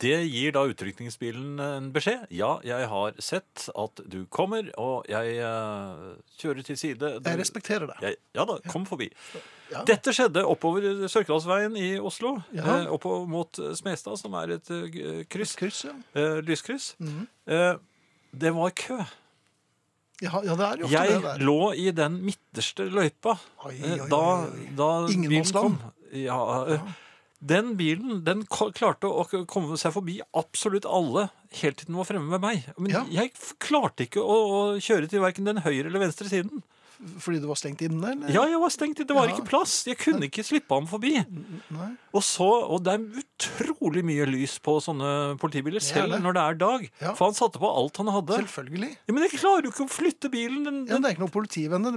A: Det gir da utrykningsbilen en beskjed. Ja, jeg har sett at du kommer, og jeg eh, kjører til side. Du,
B: Jeg respekterer det.
A: jeg, ja da, kom forbi.
B: Ja.
A: Dette skjedde oppover Sørkedalsveien i Oslo,
B: Ja.
A: eh, oppover mot Smestad, som er et eh, kryss,
B: Kryss, ja.
A: eh, lyskryss. Eh, Det var kø.
B: Ja, ja det er jo ofte
A: Jeg
B: det der.
A: lå i den midterste løypa
B: Oi,
A: eh,
B: oi,
A: da,
B: oi, oi.
A: da bilen
B: Ingenmannsland.
A: kom. Ja, eh, den bilen den ko- klarte å k- komme seg forbi absolutt alle helt til den var fremme med meg. Men
B: Ja.
A: jeg f- klarte ikke å, å kjøre til verken den høyre eller venstre siden.
B: Fordi du var stengt inne, eller?
A: Ja, jeg var stengt. Det var
B: Ja.
A: ikke plass. Jeg kunne ikke slippe ham forbi.
B: Nei.
A: Og, så, og det er utrolig mye lys på sånne politibiler,
B: Det er
A: selv
B: det.
A: når det er dag.
B: Ja.
A: For han satte på alt han hadde.
B: Selvfølgelig.
A: Ja, men jeg klarer jo ikke å flytte bilen. Den,
B: Ja, men det er ikke noe politivenner.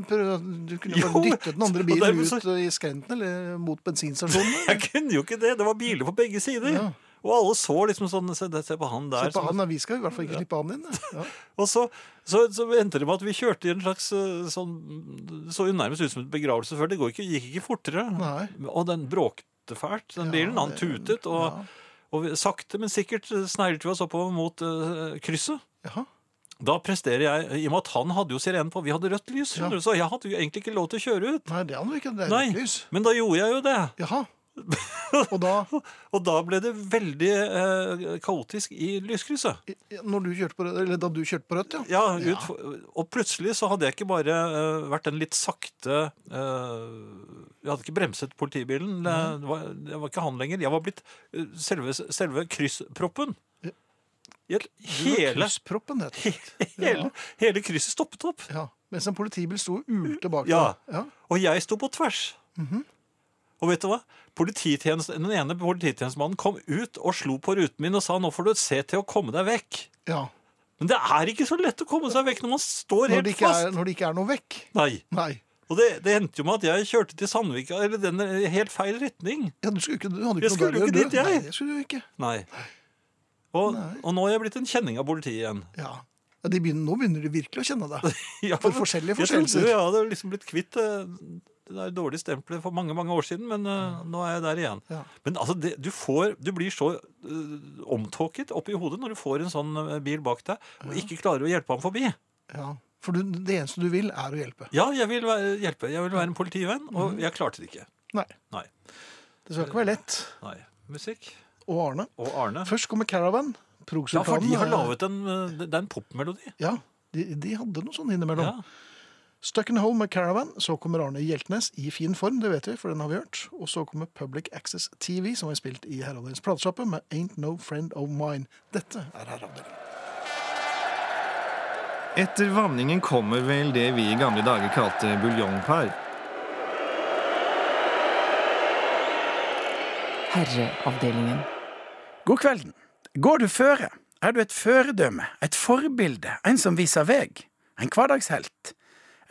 B: Du kunne jo
A: Jo,
B: bare dyttet den andre
A: og
B: bilen
A: dermed så-
B: ut i skrenten eller mot bensinstasjonene.
A: Jeg kunne jo ikke det. Det var biler på begge sider.
B: Ja.
A: Og alle så liksom sånn Se, der- se på han der.
B: Se på
A: sånn.
B: han, da. vi skal i hvert fall ikke slippe han inn. Ja.
A: Og så, så, så endte det med at vi kjørte i en slags eh, sånn Det så jo nærmest ut som et begravelse før. Det går ikke, gikk ikke fortere.
B: Nei.
A: Og den bråkte fælt, den bilen. Han tutet. Og, og vi, sakte, men sikkert eh, sneglet vi oss oppover mot eh, krysset.
B: Jaha.
A: Da presterer jeg, i og med at han hadde jo sirenen på, vi hadde rødt lys,
B: Ja.
A: skjønner du, så jeg hadde jo egentlig ikke lov til å kjøre ut.
B: Nei, det er han jo ikke. Det er
A: Nei,
B: rødt lys.
A: men da gjorde jeg jo det.
B: Jaha. Og da,
A: Og da ble det veldig eh, kaotisk i lyskrysset.
B: når du kjørte på, rødt- eller da du kjørte på rødt, ja.
A: Ja, ut, Og plutselig så hadde jeg ikke bare eh, vært den litt sakte eh, Jeg hadde ikke bremset politibilen. Det, det, var, det var ikke han lenger. Jeg var blitt eh, selve, selve kryssproppen. Jeg- Hele,
B: Kryssproppen, heter det.
A: hele, hele krysset stoppet opp.
B: Ja. Mens en politibil sto og ulte bak
A: Ja.
B: deg. Ja.
A: Og jeg sto på tvers. Og vet du hva? Polititjenest- Den ene polititjenestemannen kom ut og slo på ruten min og sa nå får du se til å komme deg vekk.
B: ja.
A: Men det er ikke så lett å komme seg vekk når man står
B: Når,
A: helt
B: det ikke
A: fast.
B: er, når det ikke er noe vekk.
A: Nei.
B: Nei.
A: Og det, det endte jo med at jeg kjørte til Sandvika, eller den i helt feil retning.
B: Ja, du, skulle ikke, du hadde
A: Jeg
B: ikke
A: skulle jo
B: noe der å gjøre,
A: ikke dit,
B: du.
A: jeg.
B: Nei, det skulle du ikke.
A: Nei. Og,
B: Nei.
A: og nå er jeg blitt en kjenning av politiet igjen.
B: Ja. Ja, de begynner, nå begynner de virkelig å kjenne deg.
A: Ja,
B: For forskjellige
A: Jeg
B: forseelser.
A: trodde jeg hadde liksom blitt kvitt eh, det der dårlige stempelet for mange mange år siden, men eh, nå er jeg der igjen.
B: Mm. Ja.
A: Men altså, det, du, får, du blir så eh, omtåket oppi hodet når du får en sånn eh, bil bak deg og ikke klarer å hjelpe ham forbi.
B: Ja. For du, det eneste du vil, er å hjelpe.
A: Ja, jeg vil være, hjelpe. Jeg vil være en politivenn,
B: Mm.
A: og jeg klarte det ikke.
B: Nei,
A: Nei.
B: det skal ikke være lett.
A: Nei. Musikk
B: Og Arne.
A: og Arne.
B: Først kommer Caravan.
A: Ja, for
B: Progsultanen.
A: de har laget en eh, Det det er en popmelodi.
B: Ja, de, de hadde noe sånn innimellom.
A: Ja.
B: Stuck in Home med Caravan, så kommer Arne Hjeltnes i fin form, det vet vi, for den har vi hørt. Og så kommer Public Access TV, som er spilt i Herreavdelingens platesjappe, med Ain't No Friend of Mine. Dette er Herreavdelingen.
G: Etter vanningen kommer vel det vi i gamle dager kalte buljongpar.
H: Herreavdelingen.
I: God kvelden. Går du føre? Er du et føredømme, et forbilde, en som viser veg? En hverdagshelt?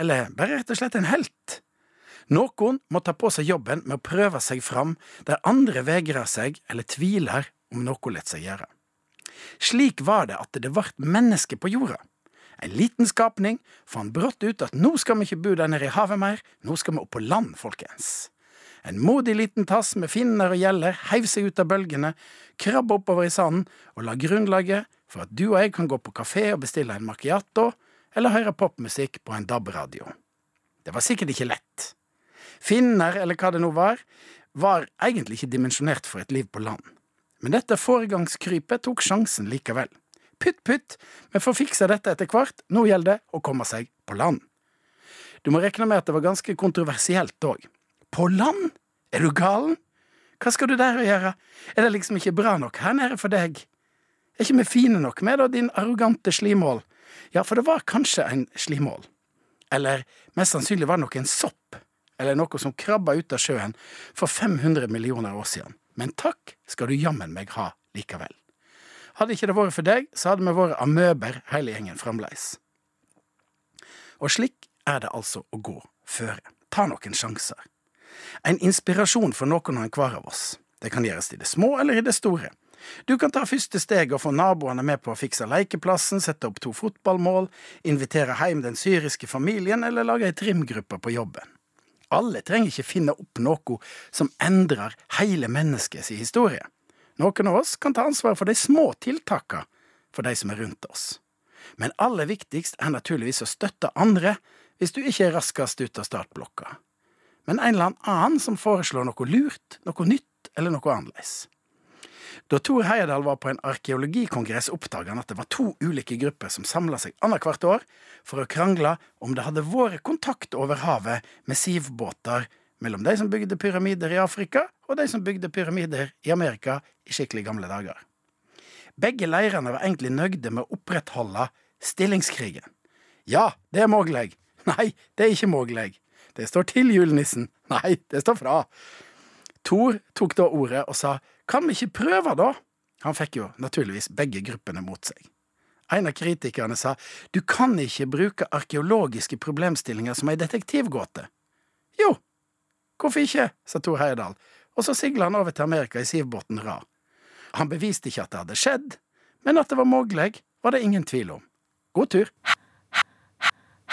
I: Eller bare rett og slett en helt? Noen må ta på seg jobben med å prøve seg fram der andre vegrer seg eller tviler om noe lar seg gjøre. Slik var det at det vart menneske på jorda. En liten skapning fant brått ut at nå skal vi ikke bo der nede i havet mer, nå skal vi opp på land, folkens. En modig liten tass med finner og gjeller heiv seg ut av bølgene, krabba oppover i sanden og la grunnlaget for at du og jeg kan gå på kafé og bestille en macchiato eller høre popmusikk på en DAB-radio. Det var sikkert ikke lett. Finner, eller hva det nå var, var egentlig ikke dimensjonert for et liv på land. Men dette foregangskrypet tok sjansen likevel. Pytt pytt, vi får fiksa dette etter hvert, nå gjelder det å komme seg på land. Du må rekne med at det var ganske kontroversielt òg. På land? Er du galen? Hva skal du der og gjøre? Er det liksom ikke bra nok her nede for deg? Er ikke vi fine nok med da, din arrogante slimål? Ja, for det var kanskje en slimål. Eller mest sannsynlig var det nok en sopp, eller noe som krabba ut av sjøen for 500 millioner år siden. Men takk skal du jammen meg ha likevel. Hadde ikke det vært for deg, så hadde vi vært amøber hele gjengen fremleis. Og slik er det altså å gå føre. Ta noen sjanser. En inspirasjon for noen og enhver av oss. Det kan gjøres i det små eller i det store. Du kan ta første steg og få naboene med på å fikse lekeplassen, sette opp to fotballmål, invitere hjem den syriske familien eller lage ei trimgruppe på jobben. Alle trenger ikke finne opp noe som endrer hele menneskets historie. Noen av oss kan ta ansvaret for de små tiltakene for de som er rundt oss. Men aller viktigst er naturligvis å støtte andre hvis du ikke er raskest ut av startblokka. Men en eller annen som foreslår noe lurt, noe nytt eller noe annerledes.
B: Da Thor Heyerdahl var på en arkeologikongress, oppdaga han at det var to ulike grupper som samla seg annethvert år for å krangle om det hadde vært kontakt over havet med sivbåter mellom de som bygde pyramider i Afrika, og de som bygde pyramider i Amerika i skikkelig gamle dager. Begge leirene var egentlig nøgde med å opprettholde stillingskrigen. Ja, det er mulig. Nei, det er ikke mulig. Det står til julenissen. Nei, det står fra. Thor tok da ordet og sa kan vi ikke prøve, da? Han fikk jo naturligvis begge gruppene mot seg. En av kritikerne sa du kan ikke bruke arkeologiske problemstillinger som ei detektivgåte. Jo, hvorfor ikke, sa Thor Heyerdahl, og så sigla han over til Amerika i sivbåten Ra. Han beviste ikke at det hadde skjedd, men at det var mulig, var det ingen tvil om. God tur.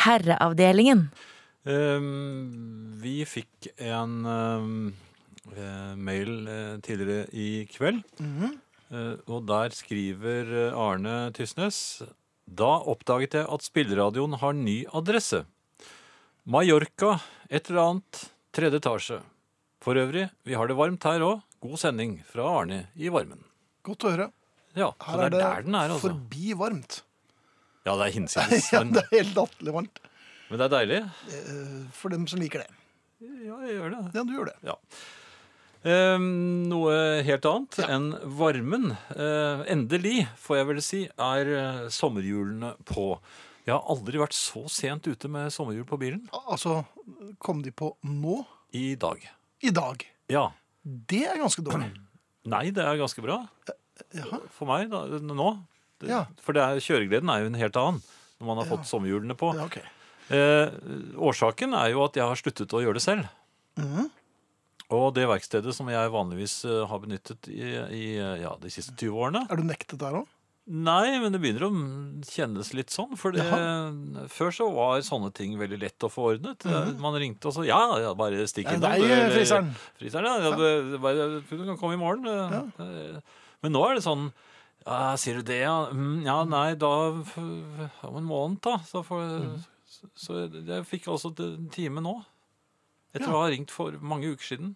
C: Herreavdelingen.
A: Ehm, vi fikk en ehm, eh, mail eh, tidligere i kveld.
G: Mhm.
A: Eh, og der skriver eh, Arne Tysnes Da oppdaget jeg at spilleradioen har ny adresse. Mallorca, et eller annet, tredje etasje. For øvrig, vi har det varmt her òg. God sending fra Arne i varmen.
G: Godt å høre.
A: Ja, så
G: Her
A: det
G: er
A: er
G: det
A: der den er, altså.
G: forbi varmt.
A: Ja, det er hinsides,
G: Ja,
A: men,
G: det er helt latterlig varmt.
A: men det er deilig.
G: eh, For dem som liker det.
A: Ja, jeg gjør det.
G: Ja, du gjør det.
A: Ja. Ehm, noe helt annet enn varmen. Eh, endelig, får jeg vel si, er eh, sommerhjulene på. Jeg har aldri vært så sent ute med sommerhjul på bilen
G: Al- Altså, kom de på nå?
A: i dag.
G: I dag.
A: Ja.
G: Det er ganske dårlig.
A: Nei, det er ganske bra.
G: Eh, Jaha.
A: For meg da, nå. Det,
G: Ja.
A: For det er, kjøregleden er jo en helt annen når man har fått sommerhjulene på.
G: Ja, ok.
A: Eh, årsaken er jo at jeg har sluttet å gjøre det selv. Og det verkstedet som jeg vanligvis eh, har benyttet i, i eh, ja, de siste 20 årene
G: Er du nektet der òg?
A: Nei, men det begynner å kjennes litt sånn. For det, før så var sånne ting veldig lett å få ordnet. Eh, Man ringte og så Ja, ja, bare stikk
G: Mhm. Ja,
A: innom.
G: nei,
A: eller-
G: fryseren.
A: Fryseren, ja. ja. det- det Bare, du kan komme i morgen. Eh, Men nå er det sånn ja, Sier du det, ja? Mm, Ja, nei, da f- Om en måned, da. Så,
G: Mhm.
A: får, så, så jeg fikk altså en time nå. Etter å ha ringt for mange uker siden.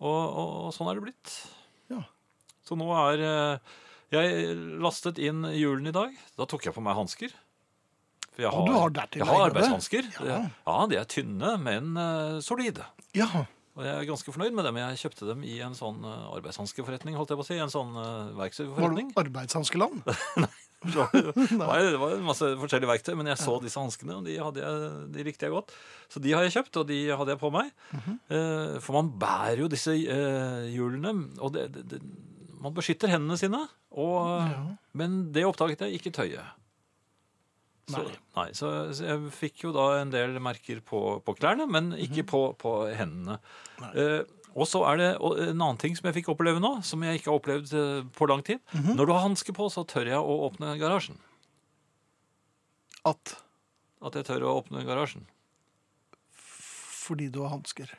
A: Og, og, og sånn er det blitt.
G: Ja.
A: Så nå er eh, Jeg lastet inn julen i dag. Da tok jeg på meg hansker. For jeg
G: Ja, du har dertil
A: jeg har
G: egnede.
A: arbeidshansker. Ja.
G: Ja.
A: de er tynne, men eh, solide.
G: Ja.
A: Og jeg er ganske fornøyd med dem. Jeg kjøpte dem i en sånn eh, arbeidshanskeforretning, holdt jeg på å si. En sånn eh,
G: Var det
A: verkstedforretning.
G: arbeidshanskeland?
A: Så- Nei, det var en masse forskjellige verktøy, men jeg så disse hanskene, og de, hadde jeg, de likte jeg godt. Så de har jeg kjøpt, og de hadde jeg på meg. Eh, For man bærer jo disse eh, hjulene, og det, det, det, man beskytter hendene sine. Og, Men det oppdaget jeg, ikke tøyet. Så, nei. så, så jeg fikk jo da en del merker på, på klærne, men ikke på, på hendene. Eh, og så er det og en annen ting som jeg fikk oppleve nå, som jeg ikke har opplevd eh, på lang tid. Når du har hanske på, så tør jeg å åpne garasjen.
G: At
A: At jeg tør å åpne garasjen.
G: fordi du har hansker.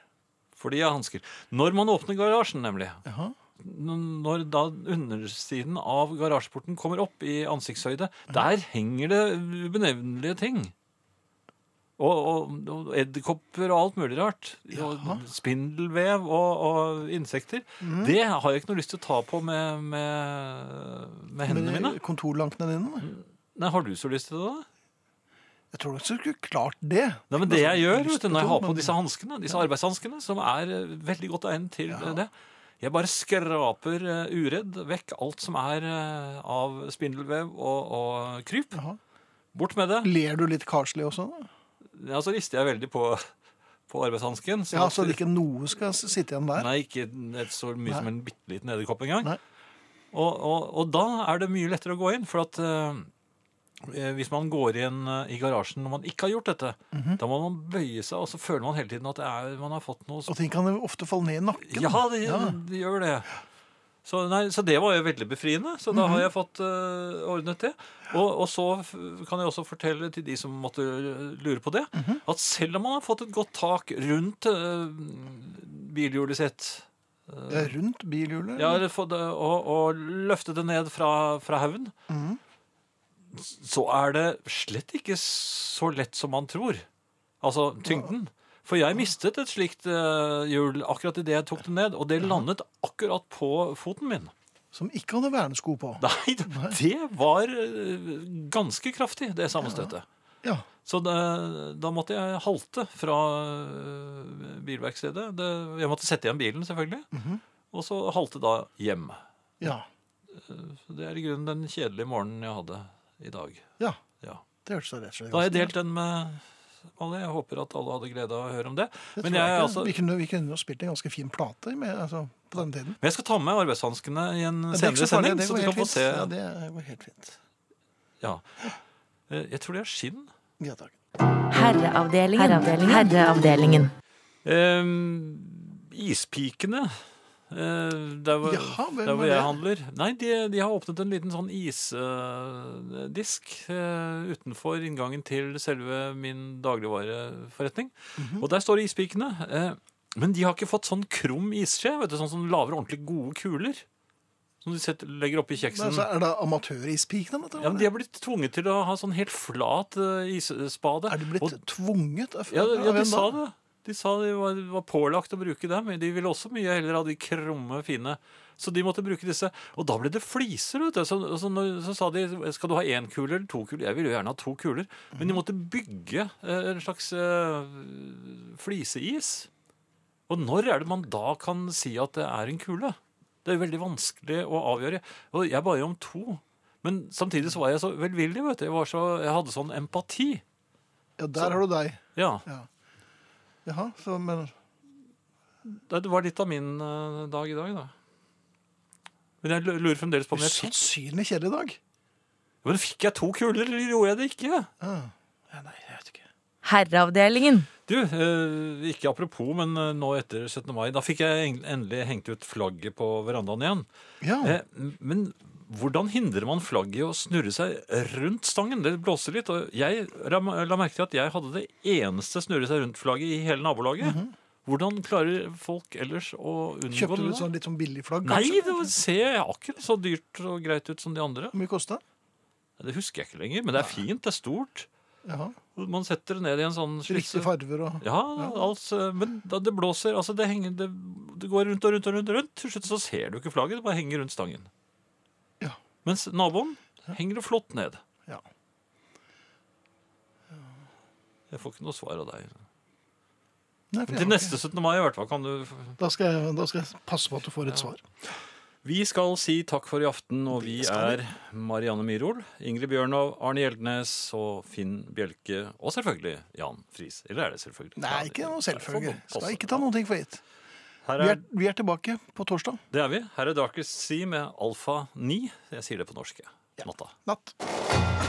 A: Fordi jeg har hansker. Når man åpner garasjen, nemlig.
G: Jaha.
A: N- Når da undersiden av garasjeporten kommer opp i ansiktshøyde, der henger det ubenevnelige ting. Og, og, og edderkopper og alt mulig rart. Og spindelvev og, og insekter. Det har jeg ikke noe lyst til å ta på med, med, med hendene
G: Med
A: mine. Mm.
G: kontorlankene dine?
A: Nei, har du så lyst til det? da?
G: Jeg tror nok du skulle klart det.
A: Nei, men Det jeg gjør
G: Lyst
A: vet du,
G: til
A: når jeg
G: å,
A: har på
G: men-
A: disse hanskene, disse arbeidshanskene, som er eh, veldig godt egnet til eh, det Jeg bare skraper eh, uredd vekk alt som er eh, av spindelvev og, og kryp.
G: Jaha.
A: Bort med det.
G: Ler du litt karslig også? da?
A: Ja, så rister jeg veldig på, på arbeidshansken.
G: Ja, Så det ikke noe skal s- sitte igjen der?
A: Nei, ikke et så mye som en bitte liten edderkopp engang.
G: Nei.
A: Og, og, og da er det mye lettere å gå inn, for at eh, hvis man går inn eh, i garasjen når man ikke har gjort dette, da må man bøye seg, og så føler man hele tiden at det er, man har fått noe
G: Og ting kan jo ofte falle ned i nakken.
A: Ja, det, det gjør det. Så, nei, så det var jo veldig befriende. Så da har jeg fått eh, ordnet det. Og, og så f- kan jeg også fortelle til de som måtte lure på det, at selv om man har fått et godt tak rundt eh, bilhjulet sitt
G: Det er rundt bilhjulet.
A: ja, eller få det, og, og løfte det ned fra, fra haugen, s- så er det slett ikke så lett som man tror. Altså tyngden. For jeg mistet et slikt eh, hjul akkurat idet jeg tok det ned, og det landet akkurat på foten min.
G: som ikke hadde vernesko på.
A: Nei, det- det var eh, ganske kraftig, det sammenstøtet.
G: Ja.
A: Så da, da måtte jeg halte fra eh, bilverkstedet. Det, jeg måtte sette igjen bilen, selvfølgelig. Og så halte da hjem.
G: ja.
A: Så det er i grunnen den kjedelige morgenen jeg hadde i dag.
G: Ja.
A: Ja.
G: Det hørtes da rett og slett
A: Da har jeg delt den med alle. Jeg håper at alle hadde glede av å høre om det.
G: Det
A: Men jeg,
G: tror jeg
A: er
G: ikke.
A: altså,
G: vi, kunne, vi kunne jo spilt en ganske fin plate med, altså, på den tiden.
A: men jeg skal ta med arbeidshanskene i en
G: Men det er ikke
A: senere
G: farlig,
A: sending,
G: det
A: så
G: går
A: du kan
G: helt
A: få
G: fint.
A: se.
G: Ja, det går helt fint.
A: Ja. Eh, Jeg tror det er skinn.
G: Ja, takk.
C: Herreavdelingen. Herreavdelingen.
A: Eh, ispikene. eh, der hvor,
G: Jaha, hvem
A: der hvor
G: er
A: jeg
G: det?
A: handler. Nei, de, de har åpnet en liten sånn isdisk eh, utenfor inngangen til selve min dagligvareforretning.
G: Mhm.
A: Og der står ispikene. eh, men de har ikke fått sånn krum isskje, vet du, sånn som lager ordentlig gode kuler. Som de setter, legger oppi
G: Men,
A: kjeksen.
G: altså, er det amatørispikene? dette,
A: ja, men
G: eller?
A: de har blitt tvunget til å ha sånn helt flat eh, isspade.
G: Er de blitt
A: Og
G: tvunget? av-
A: ja,
G: av
A: ja, de
G: hvem
A: sa
G: da?
A: det. De sa de var, var pålagt å bruke dem, men de ville også mye heller ha de krumme, fine. Så de måtte bruke disse. Og da ble det fliser, vet du. Så, så, når, så sa de skal du ha én kule eller to kuler. Jeg ville jo gjerne ha to kuler.
G: Mhm.
A: Men de måtte bygge eh, en slags eh, fliseis. Og når er det man da kan si at det er en kule? Det er jo veldig vanskelig å avgjøre. Og jeg ba jo om to. Men samtidig så var jeg så velvillig, vet du. Jeg, var så, jeg hadde sånn empati.
G: Ja, der har du deg.
A: Ja.
G: Jaha, så, men
A: Nei, Det var litt av min eh, dag i dag, da. Men jeg lurer fremdeles på om jeg fikk
G: Usannsynlig kjedelig dag.
A: Men fikk jeg to kuler, eller gjorde jeg det ikke?
G: Ah. Ja, nei, jeg vet ikke.
C: Herreavdelingen.
A: Du, eh, ikke apropos, men eh, nå etter 17. mai, da fikk jeg en- endelig hengt ut flagget på verandaen igjen.
G: Ja,
A: Eh, men hvordan hindrer man flagget i å snurre seg rundt stangen? Det blåser litt, og jeg la la merke til at jeg hadde det eneste snurre seg rundt flagget i hele nabolaget. Hvordan klarer folk ellers å unngå
G: Mhm. Kjøpte du
A: det?
G: et sånn litt sånn billig flagg?
A: Nei,
G: kanskje?
A: det var- ser akkurat så dyrt og greit ut som de andre.
G: Hvor mye kosta det?
A: Det husker jeg ikke lenger, men det er fint, det er stort.
G: Jaha.
A: Man setter det ned i en sånn
G: Riktige
A: slisse.
G: farver og
A: Ja, altså, men da det blåser, altså det henger, det, det går rundt og rundt og rundt, og rundt. Til slutt så ser du ikke flagget, det bare henger rundt stangen.
G: Ja.
A: Mens naboen henger det flott ned.
G: Ja.
A: Jeg får ikke noe svar av deg.
G: Nei, for jeg
A: Til
G: har
A: neste 17. mai i hvert fall kan du...
G: ikke- Da skal, jeg, da skal jeg passe på at du får et svar.
A: Vi skal si takk for i aften, og vi er Marianne Myrol, Ingrid Bjørnov, Arne Hjeltnes og Finn Bjelke, og selvfølgelig Jan Friis. Eller er det selvfølgelig?
G: Nei, ikke noe selvfølgelig. Skal ikke ta noen ting for gitt.
A: Her
G: Vi
A: er
G: er, vi er tilbake på torsdag
A: Det er vi. Her er Darkest Sea med Alfa 9. Jeg sier det på norsk. jeg. Natta.
G: natt.